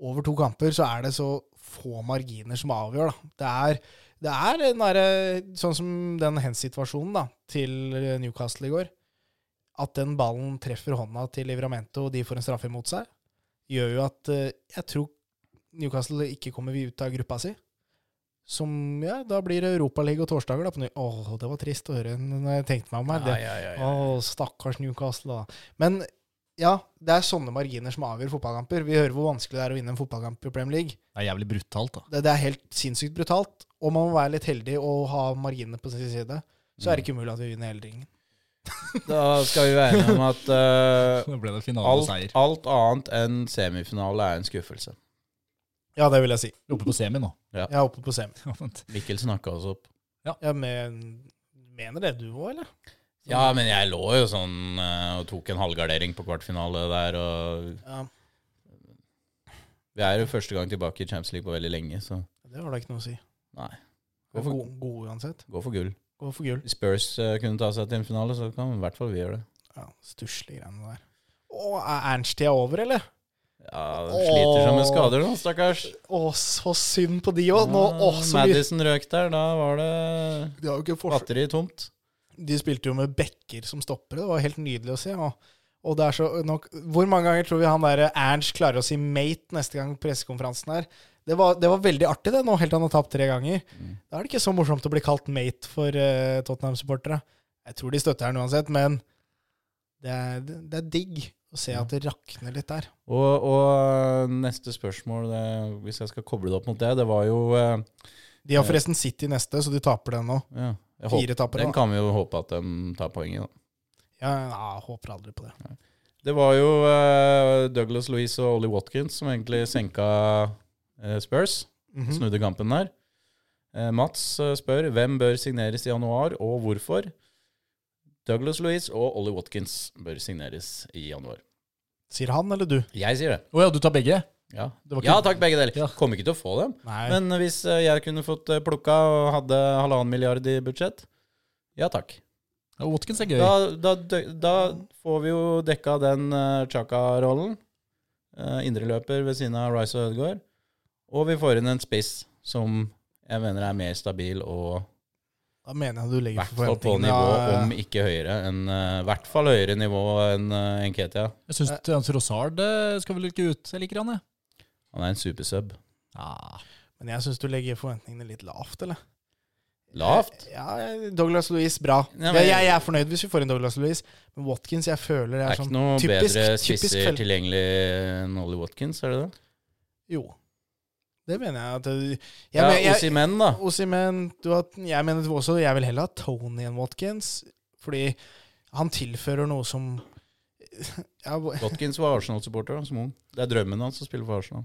over to kamper så er det så få marginer som avgjør. Da. Det er, det er den derre- sånn som den hens-situasjonen da, til Newcastle i går. At den ballen treffer hånda til Livramento, og de får en straffe imot seg, gjør jo at eh, jeg tror Newcastle ikke kommer ut av gruppa si. Som ja, da blir Europaliga og torsdager, da. På ny. Åh, det var trist å høre når jeg tenkte meg om. her. Det,
ja, ja, ja.
Åh, stakkars Newcastle, da. Men ja, det er sånne marginer som avgjør fotballkamper. Vi hører hvor vanskelig det er å vinne en fotballkamp i Premier League.
Det er jævlig brutalt, da.
Det, det er helt sinnssykt brutalt. Og man må være litt heldig og ha marginene på sin side. Så er
Mm.
det ikke umulig at vi vinner hele ringen.
Da skal vi være enige om at eh,
Da ble det
alt,
finaleseier.
alt annet enn semifinale er en skuffelse.
Ja, det vil jeg si.
Vi er Oppe på semi nå.
Jeg er oppe på semi.
Ja, vent.
Mikkel snakka oss opp.
Ja, men, mener det du òg, eller?
Ja, men jeg lå jo sånn eh, og tok en halvgardering på kvartfinale der, og
Ja,
vi er jo første gang tilbake i Champions League på veldig lenge, så
Det var da ikke noe å si.
Nei.
Gå
Gå for-
for, god uansett.
gå for gull.
Gå for gull.
Hvis Spurs eh, kunne ta seg til en finale, så kan i hvert fall vi gjøre det.
Ja, Stusslige greiene der. Å, er Ernst-tida over, eller?
Ja, de Sliter seg med
Åh.
skader nå, stakkars. Eh,
Å, så synd på de òg. Nå, å, så mye
Mm, Madison røk der, da var det
De har jo ikke forsk-
batteri tomt.
De spilte jo med bekker som stoppere. Det var helt nydelig å se. Og, og det er så nok, Hvor mange ganger tror vi han der eh, Ernst klarer å si 'mate' neste gang på pressekonferansen her? Det var, det var veldig artig, det, nå helt til han har tapt tre ganger.
Mm.
Da er det ikke så morsomt å bli kalt mate for eh, Tottenham-supportere. Jeg tror de støtter han uansett, men det er, det, det er digg å se at det rakner litt der.
Og, og eh, neste spørsmål, det, hvis jeg skal koble det opp mot det, det var jo eh,
De har forresten City neste, så de taper den nå.
ja, jeg
Fire tapere,
Den
da.
kan vi jo håpe at de tar poeng i, da.
Ja, ja, håper aldri på det.
Det var jo eh, Douglas Louise og Ollie Watkins som egentlig senka eh, Spurs.
Mhm.
Snudde kampen der. Eh, Mats eh, spør hvem bør signeres i januar, og hvorfor. Douglas Louise og Ollie Watkins bør signeres i januar.
Sier han eller du?
Jeg sier det.
Å ja, du tar begge?
Ja,
Det var ikke-
ja takk, begge deler.
Ja.
Kommer ikke til å få dem.
Nei.
Men hvis eh, jeg kunne fått eh, plukka og hadde halvannen milliard i budsjett, ja takk.
Ja, Watkins er gøy.
Da, da, dø- da får vi jo dekka den eh, Chaka-rollen. Uh, Indreløper ved siden av Rice og Ødegaard. Og vi får inn en spiss som jeg mener er mer stabil og
Da mener jeg du
I
legger
hvert fall på nivå,
eh,
om ikke høyere enn eh, hvert fall høyere nivå enn eh, enn Ketia.
Jeg syns Trossard eh, skal vel ikke ut. Jeg liker han, jeg.
Han er en supersub.
Ah,
Men jeg syns du legger forventningene litt lavt, eller? Eh,
Lavt?
Ja, Douglas Louise, bra.
Ja, men-
jeg, jeg er fornøyd hvis vi får en Douglas Louise, men Watkins jeg føler
Det
er,
er ikke
sånn
noe
typisk,
bedre
typisk
spisser
felt-
tilgjengelig enn Ollie Watkins, er det det?
Jo. Det mener jeg at eh, jeg,
Ja,
men- jeg,
Osimhen, da.
Osimhen, du har- jeg mener også jeg vil heller ha Tony enn Watkins, fordi han tilfører noe som ja, hva-
Watkins var Arsenal-supporter da, som ung. Det er drømmen hans å spille for Arsenal.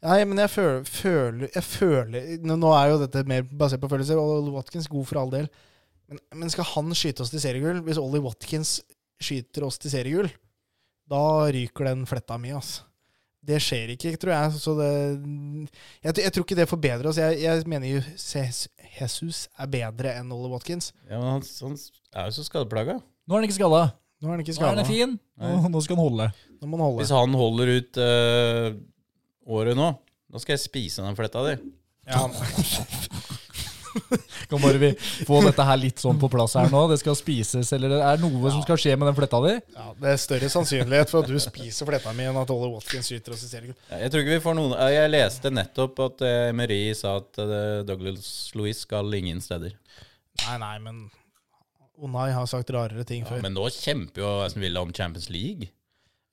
Nei, men jeg føler, føler, jeg føler nå- Nå er jo dette mer basert på følelser, og Ollie Watkins god for all del. Men, men skal han skyte oss til seriegull? Hvis Ollie Watkins skyter oss til seriegull, da ryker den fletta mi, altså. Det skjer ikke, tror jeg. Så det, jeg, jeg tror ikke det forbedrer oss. Jeg, jeg mener jo Jesus- Jesus er bedre enn Ollie Watkins.
Ja, men han, han er jo så skadeplaga.
nå er han ikke skada.
Nå er han
Nå
ikke
er
skada.
han fin.
Nei.
Nå, nå skal han holde.
Nå må han holde.
Hvis han holder ut eh, året nå, da skal jeg spise den fletta di.
Ja,
Kan bare vi få dette her litt sånn på plass her nå? Det skal spises, eller det er noe som skal skje med den fletta di?
ja, det er større sannsynlighet for at du spiser fletta mi enn at Ollie Watkins skyter oss til seriegull.
Jeg tror ikke vi får noen eh, Jeg leste nettopp at eh, Emery sa at eh, Douglas Louis skal ingen steder.
Nei, nei, men Onai har sagt rarere ting
Ja,
før.
men nå kjemper jo Aston Villa om Champions League.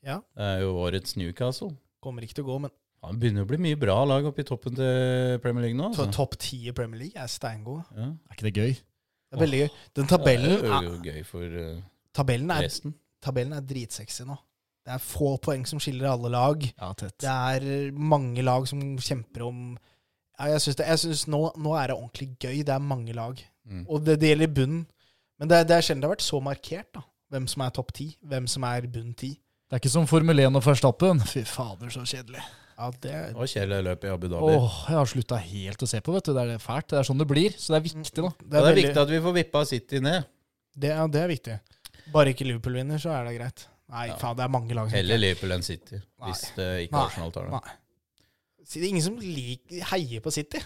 Ja.
Det er jo årets Newcastle.
Kommer ikke til å gå, men
Ja, det begynner å bli mye bra lag oppe i toppen til Premier League nå.
to-
Altså.
topp ti i Premier League er steingode.
Ja.
Er ikke det gøy?
Det er veldig gøy. Den tabellen,
Det er
er,
jo gøy for eh,
tabellen, er,
resten.
tabellen er dritsexy nå. Det er få poeng som skiller alle lag.
Ja, tett.
Det er mange lag som kjemper om ja, Jeg syns, det, jeg synes nå, nå er det ordentlig gøy. Det er mange lag.
Mm.
Og det, det gjelder i bunnen. Men det, det er sjelden det har vært så markert, da. Hvem som er topp ti, hvem som er bunn ti.
Det er ikke som Formel 1 og Verstappen. Fy fader, så kjedelig.
Ja, det,
Og Kjell løp i Abu Dhabi.
Åh, jeg har slutta helt å se på, vet du. Det er fælt. Det er sånn det blir. Så det er viktig, da.
Ja, det er
veldig-
viktig at vi får vippa City ned.
Det, ja, det er viktig. Bare ikke Liverpool vinner, så er det greit. Nei,
Ja.
faen, det er mange lag som
Heller Liverpool enn City,
Nei.
hvis det ikke
Nei.
Arsenal tar det.
Nei. Så Det er ingen som liker, heier på City.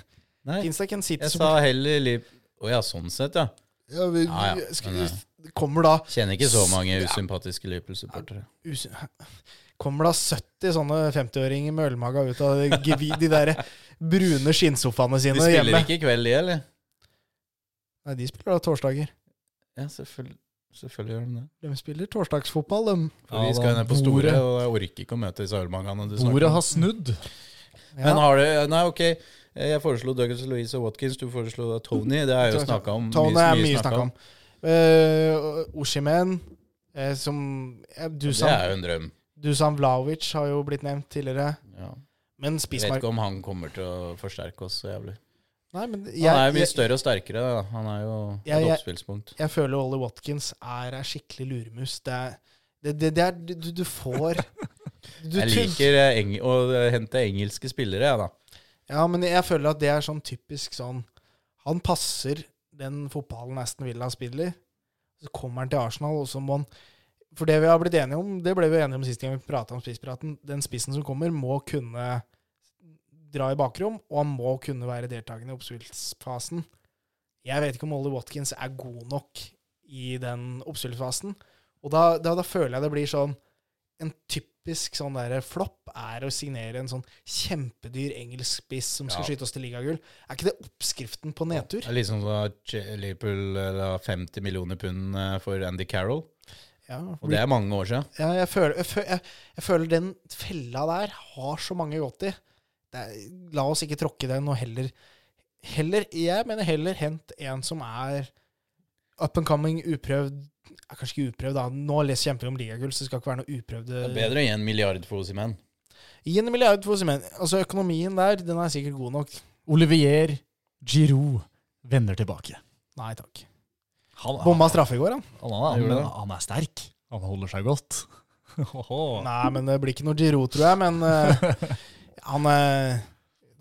Nei,
Fins det ikke en City
jeg sa heller Liverpool Å ja, sånn sett, ja.
ja, vi,
Ja, ja,
skal-
men, eh.
Kommer da
Kjenner ikke så mange
Ja.
usympatiske Liverpool-supportere.
us- Kommer da 70 sånne 50-åringer med ølmaga ut av gevi- de der brune skinnsofaene
De
sine
spiller
hjemme?
ikke i kveld, de, eller?
Nei, de spiller da torsdager.
Ja, selvfølgelig, selvfølgelig gjør de det.
De spiller torsdagsfotball, de.
For
Ja,
vi
da,
skal jo ned på Store,
bordet-
og jeg orker ikke å møte disse ølmangene du snakker
Bordet
om.
har snudd.
Men
Ja.
har du Nei, ok. Jeg foreslo Douglas Louise og Watkins, du foreslo da Tony. Det er jo snakka om.
Tony er
snakket
mye snakka om. Uh, Oshimen, som eh,
Det
Dusan,
er jo en drøm.
Dusan Vlaovic har jo blitt nevnt tidligere.
Ja.
Men
Jeg vet
Spismark
ikke om han kommer til å forsterke oss så jævlig.
Nei, men jeg,
Han er jo mye
jeg,
større og sterkere. Da. Han er jo
Ja,
et
jeg-
oppspillspunkt.
jeg føler Ollie Watkins er ei skikkelig luremus. Det er, det, det, det er du, du- du får du,
Jeg
tror-
liker eh, eng å eh, hente engelske spillere, jeg, da.
Ja, men jeg føler at det er sånn typisk sånn Han passer den fotballen Aston Villa spiller. Så kommer han til Arsenal, og så må han For det vi har blitt enige om, det ble vi enige om sist gang vi prata om spisspraten, den spissen som kommer, må kunne dra i bakrom, og han må kunne være deltakende i oppspillsfasen. Jeg vet ikke om Ollie Watkins er god nok i den oppspillsfasen. Og da, da, da føler jeg det blir sånn En typisk sånn derre flopp er å signere en sånn kjempedyr engelsk spiss som skal
Ja.
skyte oss til ligagull. Er ikke det oppskriften på nedtur?
Det er liksom da Ch- Liverpool eh, la 50 millioner pund eh, for Andy Carroll,
Ja,
og det er mange år siden.
Ja, jeg føler, jeg, føler, jeg, jeg føler den fella der har så mange gått i. Det er, la oss ikke tråkke den, og heller, heller Jeg mener heller hent en som er up and coming, uprøvd ja, Kanskje ikke uprøvd, da. Nå les- kjemper vi om ligagull, så det skal ikke være noe
Det er
uprøvde
bedre å gi en milliard for Osimhen.
Gi en milliard for Simen. Altså, økonomien der, den er sikkert god nok.
Olivier Giroud vender tilbake.
Nei takk.
Han, han,
Bomma straffe i går, han.
han, han,
gjorde
men
det.
han er sterk. Han holder seg godt. Åhå.
Nei, men det blir ikke noe Giro, tror jeg. Men eh, han eh,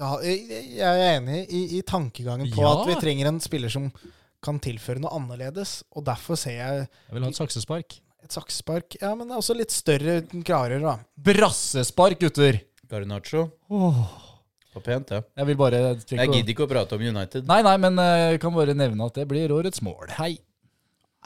da- Jeg jeg er enig i, i tankegangen på
Ja.
at vi trenger en spiller som kan tilføre noe annerledes. Og derfor ser jeg
Jeg vil ha et saksespark.
et saksespark. Ja, men også litt større, klarere, da.
Brassespark, gutter!
Garnaccio.
Åh.
stoppa pent, ja.
Jeg vil bare tenke
Jeg
å-
gidder ikke å prate om United.
Nei, nei, men eh, jeg kan bare nevne at det blir årets mål. Hei.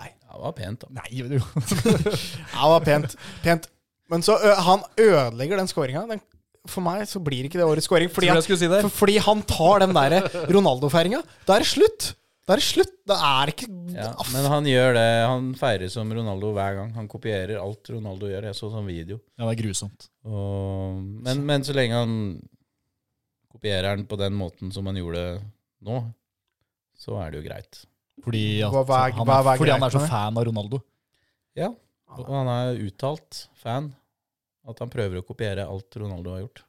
Ja, det var pent, da.
Nei, du.
Ja, det var pent. pent. Men så ø, han ødelegger den skåringa. Den, for meg så blir ikke det årets skåring. Fordi,
Tror
han-
jeg skulle si det.
for- fordi han tar den derre Ronaldo-feiringa. Da er det slutt! Da er det slutt. Da er det ikke
Ja,
Aff.
men han gjør det. Han feirer som Ronaldo hver gang. Han kopierer alt Ronaldo gjør. Jeg så sånn video.
Ja, det er grusomt.
Og, men, men så lenge han kopierer den på den måten som han gjorde nå, så er det jo greit.
Fordi, at
Hva- hva er-
han,
hva- hva er
fordi han
greit
er så
med det?
fan av Ronaldo.
Ja. Og han er uttalt fan. At han prøver å kopiere alt Ronaldo har gjort.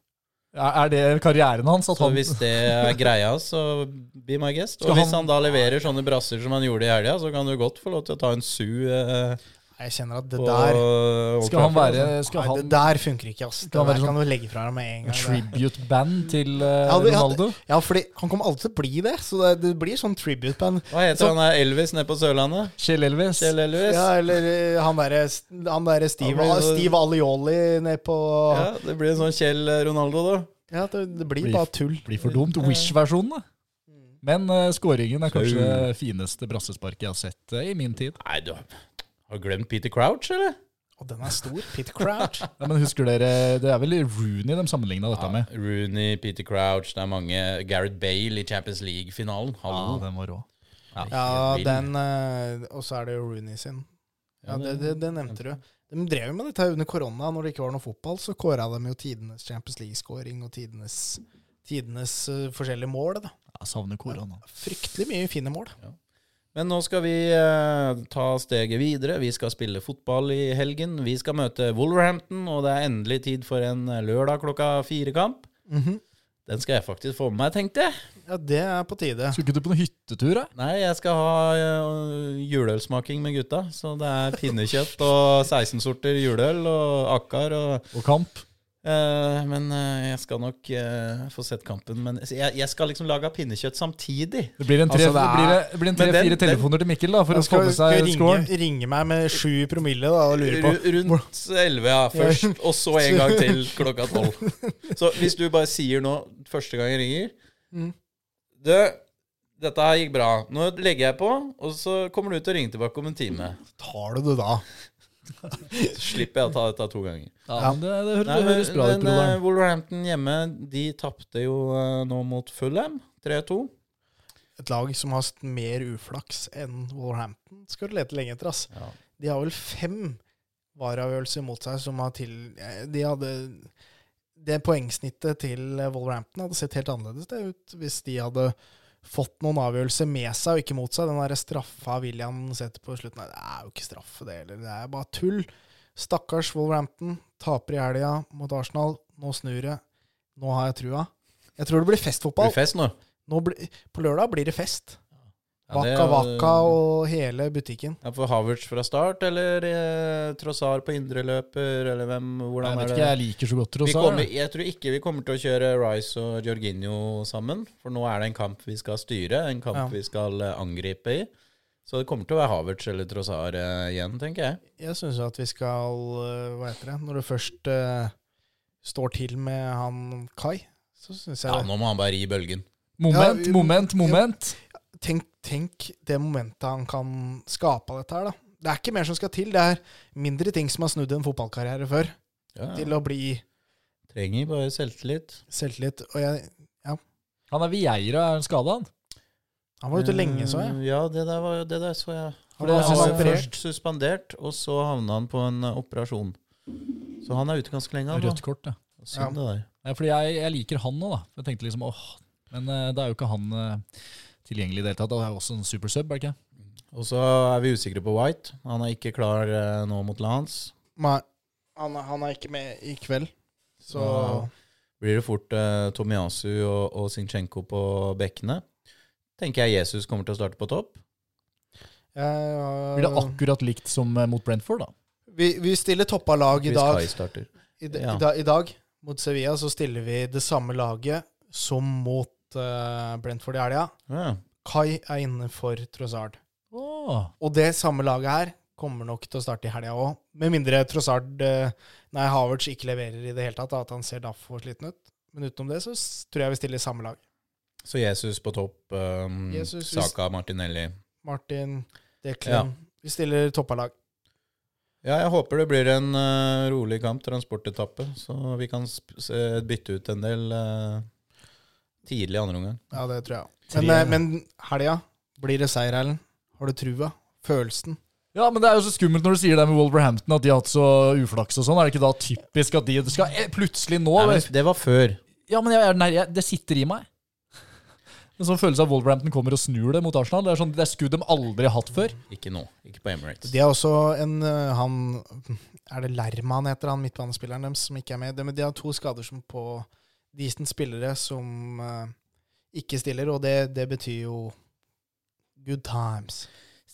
Er er det karrieren hans? At
Så
han,
hvis det er greia, så be my guest. Og
Skal
hvis
han-
han da leverer sånne brasser som han gjorde i helga, så kan du godt få lov til å ta en su eh,
Jeg kjenner at det
på
der
Old
skal han
Trafford,
være
altså.
skal
Nei, det
han
der funker ikke, ass. Det
Skal han
der
være
kan du legge fra deg med en gang. det.
tribute-band til eh,
Ja, det- ja,
Ronaldo?
Ja, fordi han kommer alltid til å bli det, så det, det blir sånn tribute band.
Hva heter
Så-
han der Elvis nede på Sørlandet?
Kjell Elvis?
Kjell Elvis?
Ja, eller eh, han derre han der Steve,
Ja, men-
Steve Alioli ned på
Ja, det blir en sånn Kjell Ronaldo, da.
Ja, det, det blir
Blir-
Mm. bare tull.
Blir for dumt. Eh, Wish-versjonen, da. Men eh, skåringen er kanskje det fineste brassesparket jeg har sett eh, i min tid.
Nei, du har du glemt Peter Crouch, eller?
Og den er stor. Pit Crouch.
Ja, men husker dere, Det er vel Rooney de sammenligna dette med?
Rooney, Peter Crouch, det er mange. Gareth Bale i Champions League-finalen.
Ja,
Hallo.
den var rå.
Ja,
Helt vild.
den eh, Og så er det jo Rooney sin. Ja, det, det, det nevnte du. De drev jo med dette her under korona, når det ikke var noe fotball. Så kåra de jo tidenes Champions League-scoring og tidenes, tidenes eh, forskjellige mål. da.
Jeg savner korona.
Fryktelig mye fine mål.
Men nå skal vi eh, ta steget videre. Vi skal spille fotball i helgen. Vi skal møte Wolverhampton, og det er endelig tid for en eh, lørdag klokka fire-kamp.
Mhm.
Den skal jeg faktisk få med meg, tenkte jeg.
Ja, det er på tide.
Skulle ikke du på noen hyttetur? da?
Nei, jeg skal ha eh, juleølsmaking med gutta. Så det er pinnekjøtt og 16-sorter juleøl og akkar og
Og kamp?
Eh, men eh, jeg skal nok eh, få sett kampen. Men jeg, jeg skal liksom lage pinnekjøtt samtidig.
Det blir en tre-
Altså, det
det
er-
blir en- det blir en
Men
tre-fire
den- den-
telefoner til Mikkel da, for å
Han
få
skal,
med
skal
seg scoren.
ringe, ringe meg med sju promille da, og lure på
Ru- Rundt 11, ja, først. Og så en gang til klokka 12. Så hvis du bare sier nå, første gang jeg ringer Du, dette her gikk bra. Nå legger jeg på, og så kommer du til å ringe tilbake om en time.
Tar du det da?
Så slipper jeg å ta dette to ganger.
Ja, men det, det høres,
Nei,
det
men,
høres bra ut,
men eh,
broderen.
Wolverhampton hjemme, de tapte jo eh, nå mot Fulham 3-2.
Et lag som har hatt mer uflaks enn Wolverhampton, skal du lete lenge etter. ass.
Ja.
De har vel fem varaavgjørelser mot seg som har til eh, De hadde Det poengsnittet til Wolverhampton hadde sett helt annerledes det ut hvis de hadde fått noen avgjørelser med seg og ikke mot seg. Den derre straffa William setter på slutten Nei, det er jo ikke straffe, det heller. Det er bare tull. Stakkars Wolverhampton. Taper i helga mot Arsenal. Nå snur det. Nå har jeg trua. Jeg tror det blir festfotball.
Blir fest nå.
Nå bli, på lørdag blir det fest.
Ja, det-
Waka Waka og hele butikken.
Ja, for Havertz fra start, eller eh, Trossar på indreløper, eller hvem?
Jeg vet
Hvordan er
ikke,
det?
jeg liker så godt
Vi
Trossar.
kommer, jeg tror ikke vi kommer til å kjøre Rice og Jorginho sammen, for nå er det en kamp vi skal styre, en kamp
Ja.
vi skal eh, angripe i. Så det kommer til å være Havertz eller Trossar eh, igjen, tenker jeg.
Jeg syns at vi skal øh, Hva heter det? Når det først øh, står til med han Kai, så syns jeg
Ja,
det.
nå må han bare ri bølgen.
Moment,
Ja, vi-
moment, moment.
Tenk, tenk det momentet han kan skape av dette her, da. Det er ikke mer som skal til. Det er mindre ting som har snudd en fotballkarriere før,
Ja, ja.
til å bli
Trenger bare selvtillit.
selvtillit. Og jeg,
Han er Vieira, er han skada, han?
han var ute lenge, så jeg.
Eh, Ja, det der, var, det der så jeg.
Han
For det,
var-
han
han var
var
operert.
først suspendert, og så havna han på en eh, operasjon. Så han er ute ganske lenge. han,
Rødt
da.
kort, ja.
Synd det der.
Nei, fordi jeg, jeg liker han nå, da. Jeg tenkte liksom, åh, Men eh, det er jo ikke han eh, tilgjengelig i det hele tatt. Han er jo også en super sub, er det ikke?
Og så er vi usikre på White. Han er ikke klar eh, nå mot Lance.
Nei, han, han er ikke med i kveld, så
Ja. Blir det fort eh, Tomiyasu og, og Sinchenko på bekkene. Tenker jeg Jesus kommer til å starte på topp.
jeg-
Blir det akkurat likt som eh, mot Brentford, da?
Vi, vi stiller toppa lag i
Hvis
dag.
Kai starter.
I, d-
ja.
i, da, I dag mot Sevilla så stiller vi det samme laget som mot eh, Brentford i helga.
Ja.
Kai er inne for Trossard.
Åh,
Og det samme laget her kommer nok til å starte i helga òg. Med mindre Trossard eh, Nei, Havertz ikke leverer i det hele tatt, da, at han ser derfor sliten ut. Men utenom det så s- tror jeg vi stiller i samme lag.
Så Jesus på topp, um,
Jesus, hvis-
Saka, Martinelli.
Martin, Declan Vi stiller toppa lag.
Ja, jeg håper det blir en eh, rolig kamp, transportetappe, så vi kan sp s eh, bytte ut en del eh, tidlig i andre omgang.
Ja, det tror jeg.
Tre.
Men, eh, men helga, blir det seier, Erlend? Har du trua? Følelsen?
Ja, men det er jo så skummelt når du sier det med Wolverhampton, at de har hatt så uflaks og sånn. Er det ikke da typisk at de det skal eh, plutselig nå
Nei, men det var før.
Ja, men jeg, er nær- jeg, det sitter i meg. En sånn følelse av at Wolverhampton kommer og snur det mot Arsenal. Det er sånn, det er skudd de aldri har hatt før.
Ikke nå. Ikke på Emirates.
De er også en eh, han Er det Lerma han heter, han midtbanespilleren deres som ikke er med? De, men de har to skader som på Decent spillere som eh, ikke stiller, og det, det betyr jo good times.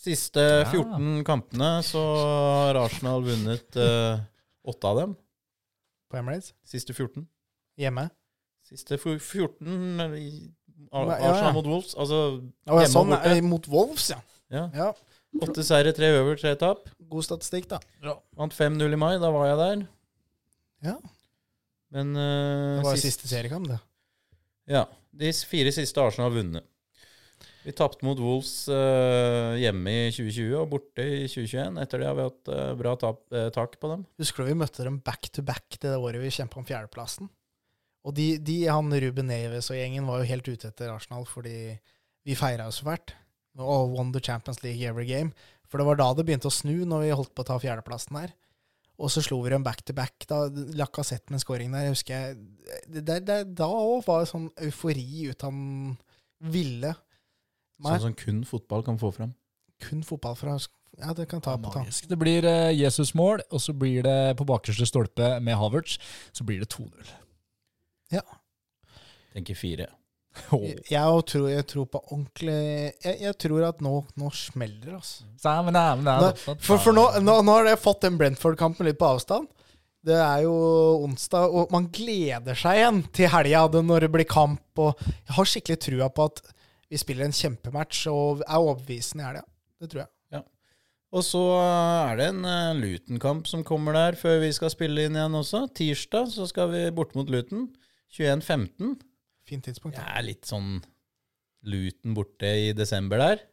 Siste 14 kampene så har Arsenal vunnet eh, åtte av dem.
På Emirates?
Siste 14.
Hjemme?
Siste fu- 14 eller i- Ar-
Nei, ja,
Arsenal
ja.
mot Wolves. Altså
Å, ja,
Hjemme
sånn,
og borte.
eh, mot Wolves, ja.
ja.
ja.
åtte seire, tre over, tre tap.
God statistikk, da.
Vant 5-0 i mai, da var jeg der.
Ja.
Men eh,
Det var
sist-
siste seriekamp, det.
Ja. De s- fire siste Arsenal har vunnet. Vi tapte mot Wolves eh, hjemme i 2020 og borte i 2021. Etter det har vi hatt eh, bra tap, eh, tak på dem.
Husker du vi møtte dem back to back det året vi kjempa om fjerdeplassen? Og de, de, han Ruben Neves og gjengen var jo helt ute etter Arsenal fordi vi feira jo så fælt. Og won the Champions League every game. For det var da det begynte å snu, når vi holdt på å ta fjerdeplassen her. Og så slo vi dem back to back. da Lacassette med en scoring der, husker jeg. Det, det, det, da òg var det sånn eufori ut han ville. Nei.
Sånn som kun fotball kan få fram.
Kun fotball fra Ja, det kan ta på tanken.
Magisk. Det blir eh, Jesus-mål, og så blir det på bakerste stolpe med Havertz. Så blir det 2-0.
Tenker fire.
Åh.
Jeg, jeg, tror, jeg tror på ordentlig Jeg, jeg tror at nå, nå smeller det, altså.
Sammen, sammen,
Nei,
sammen.
For, for nå, nå, nå har jeg fått den Brentford-kampen litt på avstand. Det er jo onsdag, og man gleder seg igjen til helga det- når det blir kamp. Og jeg har skikkelig trua på at vi spiller en kjempematch og er overbevisende i helga. Det tror jeg.
Og så er det en eh, Luton-kamp som kommer der før vi skal spille inn igjen også. Tirsdag så skal vi bort mot Luton. 21.15.
Fint tidspunkt.
Det er litt sånn Luton borte i desember der.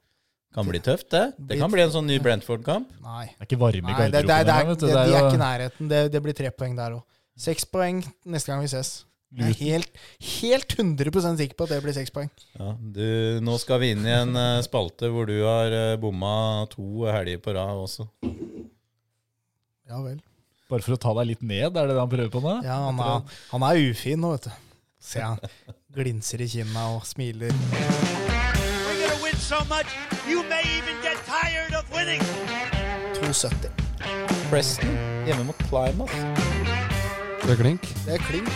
Kan bli tøft, det. Det kan bli en sånn ny Brentford-kamp.
Nei,
Det er ikke varme i
Nei det, det, det,
garderoben
er-
engang, vet du.
det,
Det
de er
er
ikke i
jo
nærheten. Det, det blir tre poeng der òg. Seks poeng neste gang vi ses. Jeg er
Luton.
helt, helt 100 sikker på at det blir seks poeng.
Ja, du, nå skal vi inn i en eh, spalte hvor du har eh, bomma to helger på rad også.
Ja vel.
Bare for å ta deg litt ned, er det det han prøver på nå?
Ja, han er, han er ufin nå, vet du. Se, han glinser i kinna og smiler.
We're going to win so much, you may even get tired of winning.
2,70.
Preston hjemme mot Plymouth.
Det er klink.
Det er klink.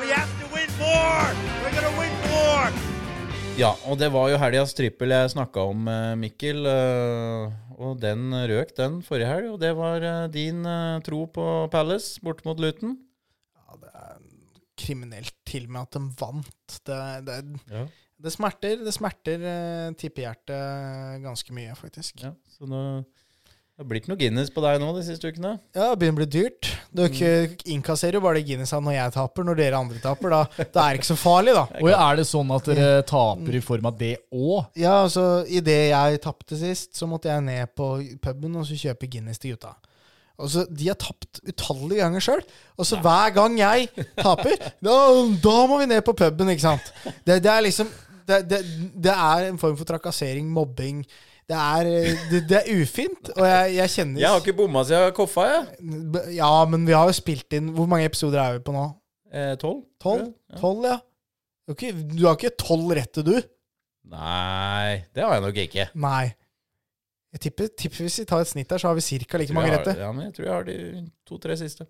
We have to win more. We're going to win more.
Ja, og det var jo helgas trippel jeg snakka om, eh, Mikkel. eh, Og den røk den forrige helg, og det var eh, din eh, tro på Palace borte mot Luton.
Ja, det er kriminelt til og med at de vant. Det, det,
Ja.
det smerter, det smerter eh, tippehjertet ganske mye, faktisk. Ja,
så nå det blir ikke noe Guinness på deg nå de siste ukene.
det begynner å bli dyrt. Dere innkasserer jo bare det Guinnessa når jeg taper, når dere andre taper. Da, da er det ikke så farlig, da.
Og er det sånn at dere
Mm.
taper i form av det òg?
Ja, altså, idet jeg tapte sist, så måtte jeg ned på puben og så kjøpe Guinness til gutta. Og så, De har tapt utallige ganger sjøl. Og så hver gang jeg taper, da, da må vi ned på puben, ikke sant? Det, det er liksom det, det, det er en form for trakassering, mobbing. Det er, eh, det, det er ufint, og jeg, jeg kjenner
Jeg har ikke bomma siden jeg koffa, jeg.
Ja, men vi har jo spilt inn Hvor mange episoder er vi på nå?
Eh, Tolv?
Tolv? Tolv, ja. Du har ikke- Du har ikke tolv rette, du?
Nei, det har jeg nok ikke.
Nei. Jeg tipper, tipper hvis vi tar et snitt der, så har vi ca. like mange
jeg har-
rette.
Ja, men jeg tror jeg har de to-tre siste.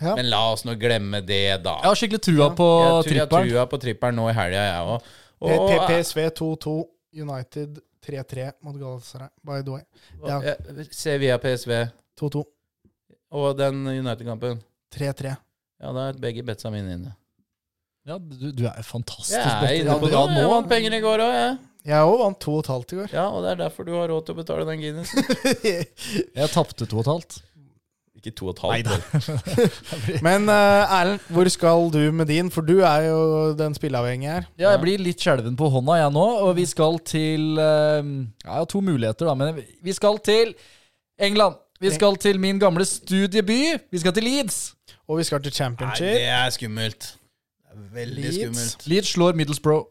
Ja.
Men la oss nå glemme det, da.
Jeg har skikkelig trua på
jeg tror jeg
tripperen.
trua på tripperen nå i helga, jeg òg.
Eh, P- P- PSV
eh,
2-2, United 3-3 mot Galatasaray. By the way. ja.
Sevilla PSV
2-2,
og den United-kampen.
3-3.
Ja, da er begge betsa mine inne.
Ja, du, du er fantastisk
Jeg er
bedt-
inne på det.
ja,
Jeg
nå.
vant penger i går òg, jeg.
Jeg òg vant 2,5 i går.
Ja, og det er derfor du har råd til å betale den Guinnessen.
Jeg tapte to og et halvt.
Ikke to og et halvt år.
Men eh, Erlend, hvor skal du med din? For du er jo den spilleavhengige her.
Ja, jeg blir litt skjelven på hånda jeg nå, og vi skal til eh, ja, Jeg har to muligheter, da, men vi skal til England. Vi skal til min gamle studieby. Vi skal til Leeds.
Og vi skal til
Nei, det
championship.
er skummelt. Det er veldig
Leeds.
skummelt.
Leeds slår Middlesbrough.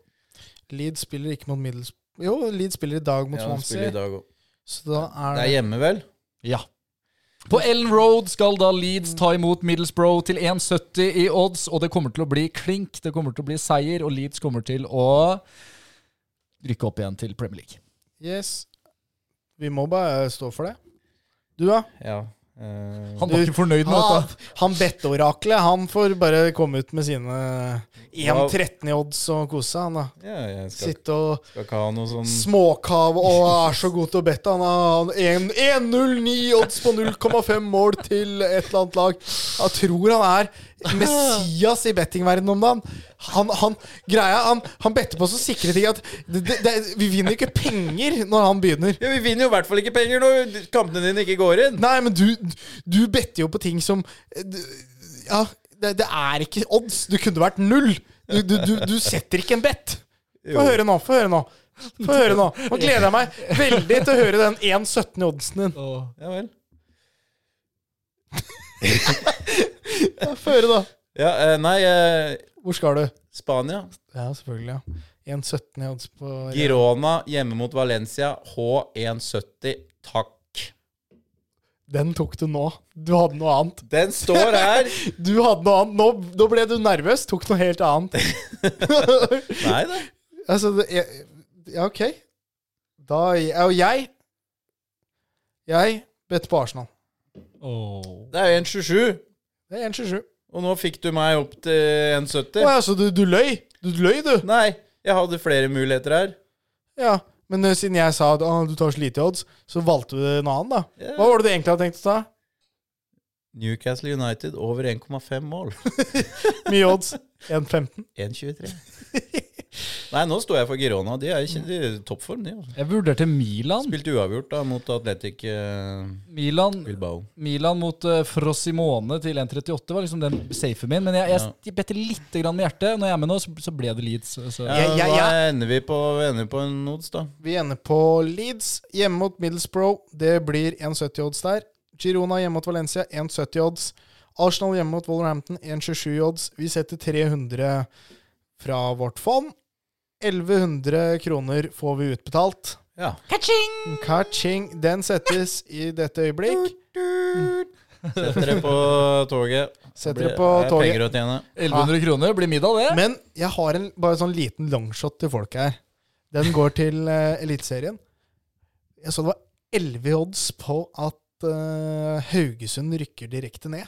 Leeds spiller ikke mot middels... Jo, Leeds spiller i dag mot
Ja, de spiller i
Swansea.
dag òg.
Så da er
Det
det
er hjemme, vel?
Ja. På Ellen Road skal da Leeds ta imot Middlesbrough til 1,70 i odds, og det kommer til å bli klink. Det kommer til å bli seier, og Leeds kommer til å rykke opp igjen til Premier League.
Yes. Vi må bare stå for det. Du, da?
Ja. Eh,
Han var ikke fornøyd med
Han,
dette.
han betteoraklet, han får bare komme ut med sine 1,13 i odds og kose seg, han da.
ja, jeg skal,
Sitte og
skal ikke ha noe sånn
småkave og er så god til å bette. Han har en- 1,09 odds på 0,5 mål til et eller annet lag. Jeg tror han er Messias i bettingverdenen om dagen. Han, han, greia, han, han better på så sikre ting at det, det, det, vi vinner ikke penger når han begynner.
Ja, Vi vinner jo i hvert fall ikke penger når kampene dine ikke går inn.
Nei, men du, du better jo på ting som eh, du- Ja, det, det er ikke odds. Du kunne vært null. Du, du, du, du setter ikke en bet. Få høre nå. Få høre nå. Få høre nå. Nå gleder jeg meg veldig til å høre den 1,17 i oddsen din.
Ja vel.
Få høre, da.
Ja, eh, nei eh,
Hvor skal du?
Spania.
Ja, selvfølgelig. ja 1,17 i odds på
Girona hjemme mot Valencia. H170. Takk.
Den tok du nå. Du hadde noe annet.
Den står her.
Du hadde noe annet. Nå, nå ble du nervøs. Tok noe helt annet.
Nei da.
Altså, det, jeg, ja, ok. Da er jo jeg Jeg bedt på Arsenal.
Det er jo 1,27.
Det er 1,27.
Og nå fikk du meg opp til
Å
1,70.
ja, så du, du løy? Du løy, du?
Nei, jeg hadde flere muligheter her.
Ja. Men eh, siden jeg sa at «Å, du tar så lite odds, så valgte du en annen, da.
Ja.
Hva var det du egentlig hadde tenkt å ta?
Newcastle United over 1,5 mål.
Mye odds. 1,15.
1,23. Nei, nå står jeg for Girona. De er ikke de er i toppform, de. Altså.
Jeg vurderte Milan.
Spilte uavgjort da mot Atletic eh,
Milan
Bilbao.
Milan mot uh, Frosimone til 1,38 var liksom den safen min. Men jeg, jeg,
Ja.
jeg better litt grann med hjertet. Når jeg er med nå, så, så ble det Leeds. Så.
Ja,
Jeg- jeg-
Hva
jeg-
ender vi på, ender vi på en odds, da?
Vi ender på Leeds hjemme mot Middlesbrough. Det blir 1,70 odds der. Girona hjemme mot Valencia 1,70 odds. Arsenal hjemme mot Wolverhampton 1,27 odds. Vi setter 300 fra vårt fond. 1100 kroner får vi utbetalt.
Ja.
Ka-ching! Den settes i dette øyeblikk.
Sett dere på toget.
Setter
Blir-
det på
det er
toget.
Penger å tjene.
1100 kroner blir middag, det.
Men jeg har en, bare en sånn liten longshot til folk her. Den går til uh, Eliteserien. Jeg så det var 11 odds på at eh, Haugesund rykker direkte ned.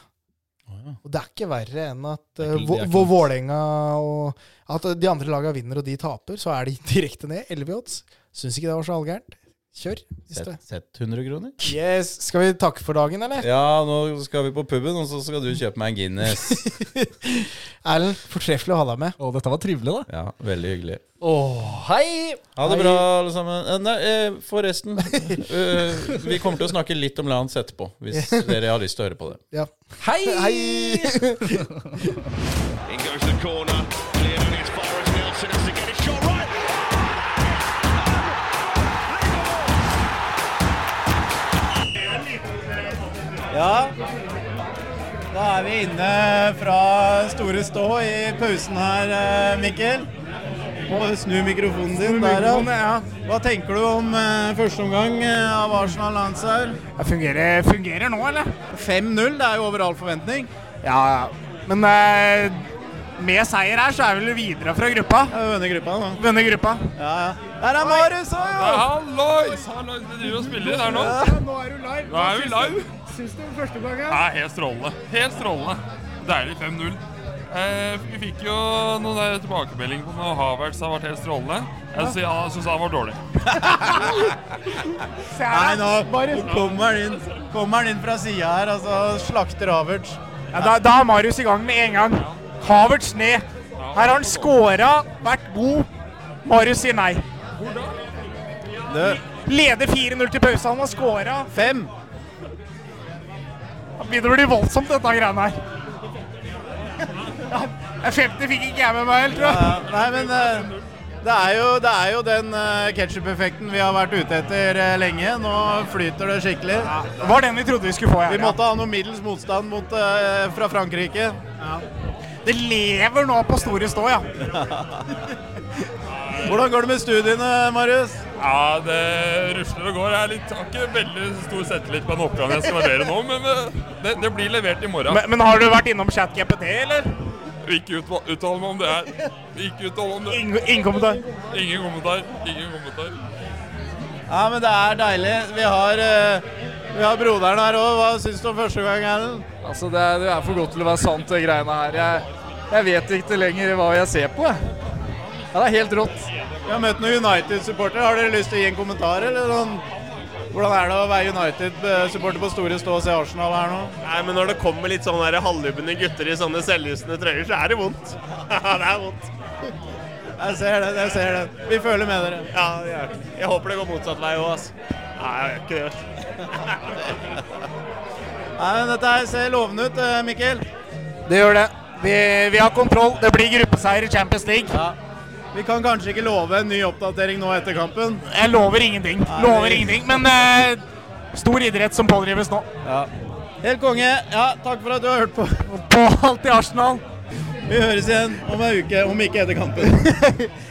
Å, ja.
Og det er ikke verre enn at
er
uh,
ikke- det er ikke noe.
Vålerenga og At eh, de andre laga vinner og de taper, så er de direkte ned. 11 odds. Syns ikke det var så halvgærent. Kjør. hvis
Sett,
det-
sett 100 kroner.
Yes. Skal vi takke for dagen, eller?
Ja, nå skal vi på puben, og så skal du kjøpe meg en Guinness.
Erlend, fortreffelig å ha deg med.
Å, dette var trivelig, da.
Ja, veldig hyggelig.
Å, hei!
Ha det
Hei.
bra, alle sammen. Eh, Nei, eh, forresten. eh, Vi kommer til å snakke litt om Lance etterpå, hvis dere har lyst til å høre på det.
Ja.
Hei!
Hei!
In goes the corner, cleared and it's far as Nelson has to get a shot right.
Ja, da er vi inne fra Store Stå i pausen her, eh, Mikkel. Må du snu mikrofonen din der, ja. Hva tenker du om eh, første omgang eh, av Arsenal Lance her?
Fungerer, fungerer nå, eller?
5-0, det er jo over all forventning.
Ja, ja. Men eh, med seier her, så er vi vel videre fra gruppa.
Det er jo denne gruppa, da.
Vunnet gruppa.
Ja, ja. Der er Marius òg, jo!
Hallois! Hallois, du driver og spiller her nå?
Nå er du live.
Nå er vi live!
Syns du om første omgang?
Ja, helt strålende. Helt strålende. Deilig 5-0. Eh, vi fikk jo noen der tilbakemelding på når Havertz har vært helt strålende. Jeg sy- han syns han var dårlig.
Nei, nå kommer han inn, kommer han inn fra sida her, altså slakter Havertz.
Ja, da, da er Marius i gang med en gang. Havertz ned. Her har han scora, vært god. Marius sier nei.
Du,
Leder 4-0 til pause. Han har scora.
fem.
Det begynner å bli voldsomt, dette greiene her. Ja, 50 fikk ikke jeg med meg helt, tror jeg.
Ja, Nei, men eh, det er jo, det er jo den ketsjup-effekten vi har vært ute etter eh, lenge. Nå flyter det skikkelig.
Det var den vi trodde vi skulle få.
Vi
Her,
måtte ha noe middels motstand mot, eh, fra Frankrike.
Det lever nå på store stå, ja.
Hvordan går det med studiene, Marius?
Ja, det rusler og går. Jeg er litt, har ikke veldig stor selvtillit på den oppgaven jeg skal levere nå, men eh, det, det blir levert i morgen.
Men, men har du vært innom ChatGPT, eller?
Ikke utva- uttale meg om det her. Ikke uttale om det.
Ingen ingen kommentar.
Ingen kommentar. Ingen kommentar.
Ja, men det er deilig. Vi har, eh, vi har broderen her òg. Hva syns du om første gang, Erlend?
Altså, det er, det er for godt til å være sant, det greiene her. Jeg, jeg vet ikke lenger hva jeg ser på, jeg. Ja, det er helt rått.
Vi har møtt noen United-supportere. Har dere lyst til å gi en kommentar, eller sånn? Hvordan er det å være United-supporter på store stå og se Arsenal her nå?
Nei, men når det kommer litt sånne der halvlubne gutter i sånne selvlysende trøyer, så er det vondt. det er vondt.
Jeg ser den, jeg ser den. Vi føler med dere.
Ja, det gjør det. Jeg håper det går motsatt vei òg, altså. Nei, jeg gjør ikke det.
Nei, men Dette her ser lovende ut, eh, Mikkel.
Det gjør det. Vi, vi har kontroll. Det blir gruppeseier i Champions League.
Vi kan kanskje ikke love en ny oppdatering nå etter kampen.
Jeg lover ingenting. Lover ingenting. Men eh, stor idrett som pådrives nå.
Helt konge. Ja, takk for at du har hørt på.
På alt i Arsenal.
Vi høres igjen om en uke, om ikke etter kampen.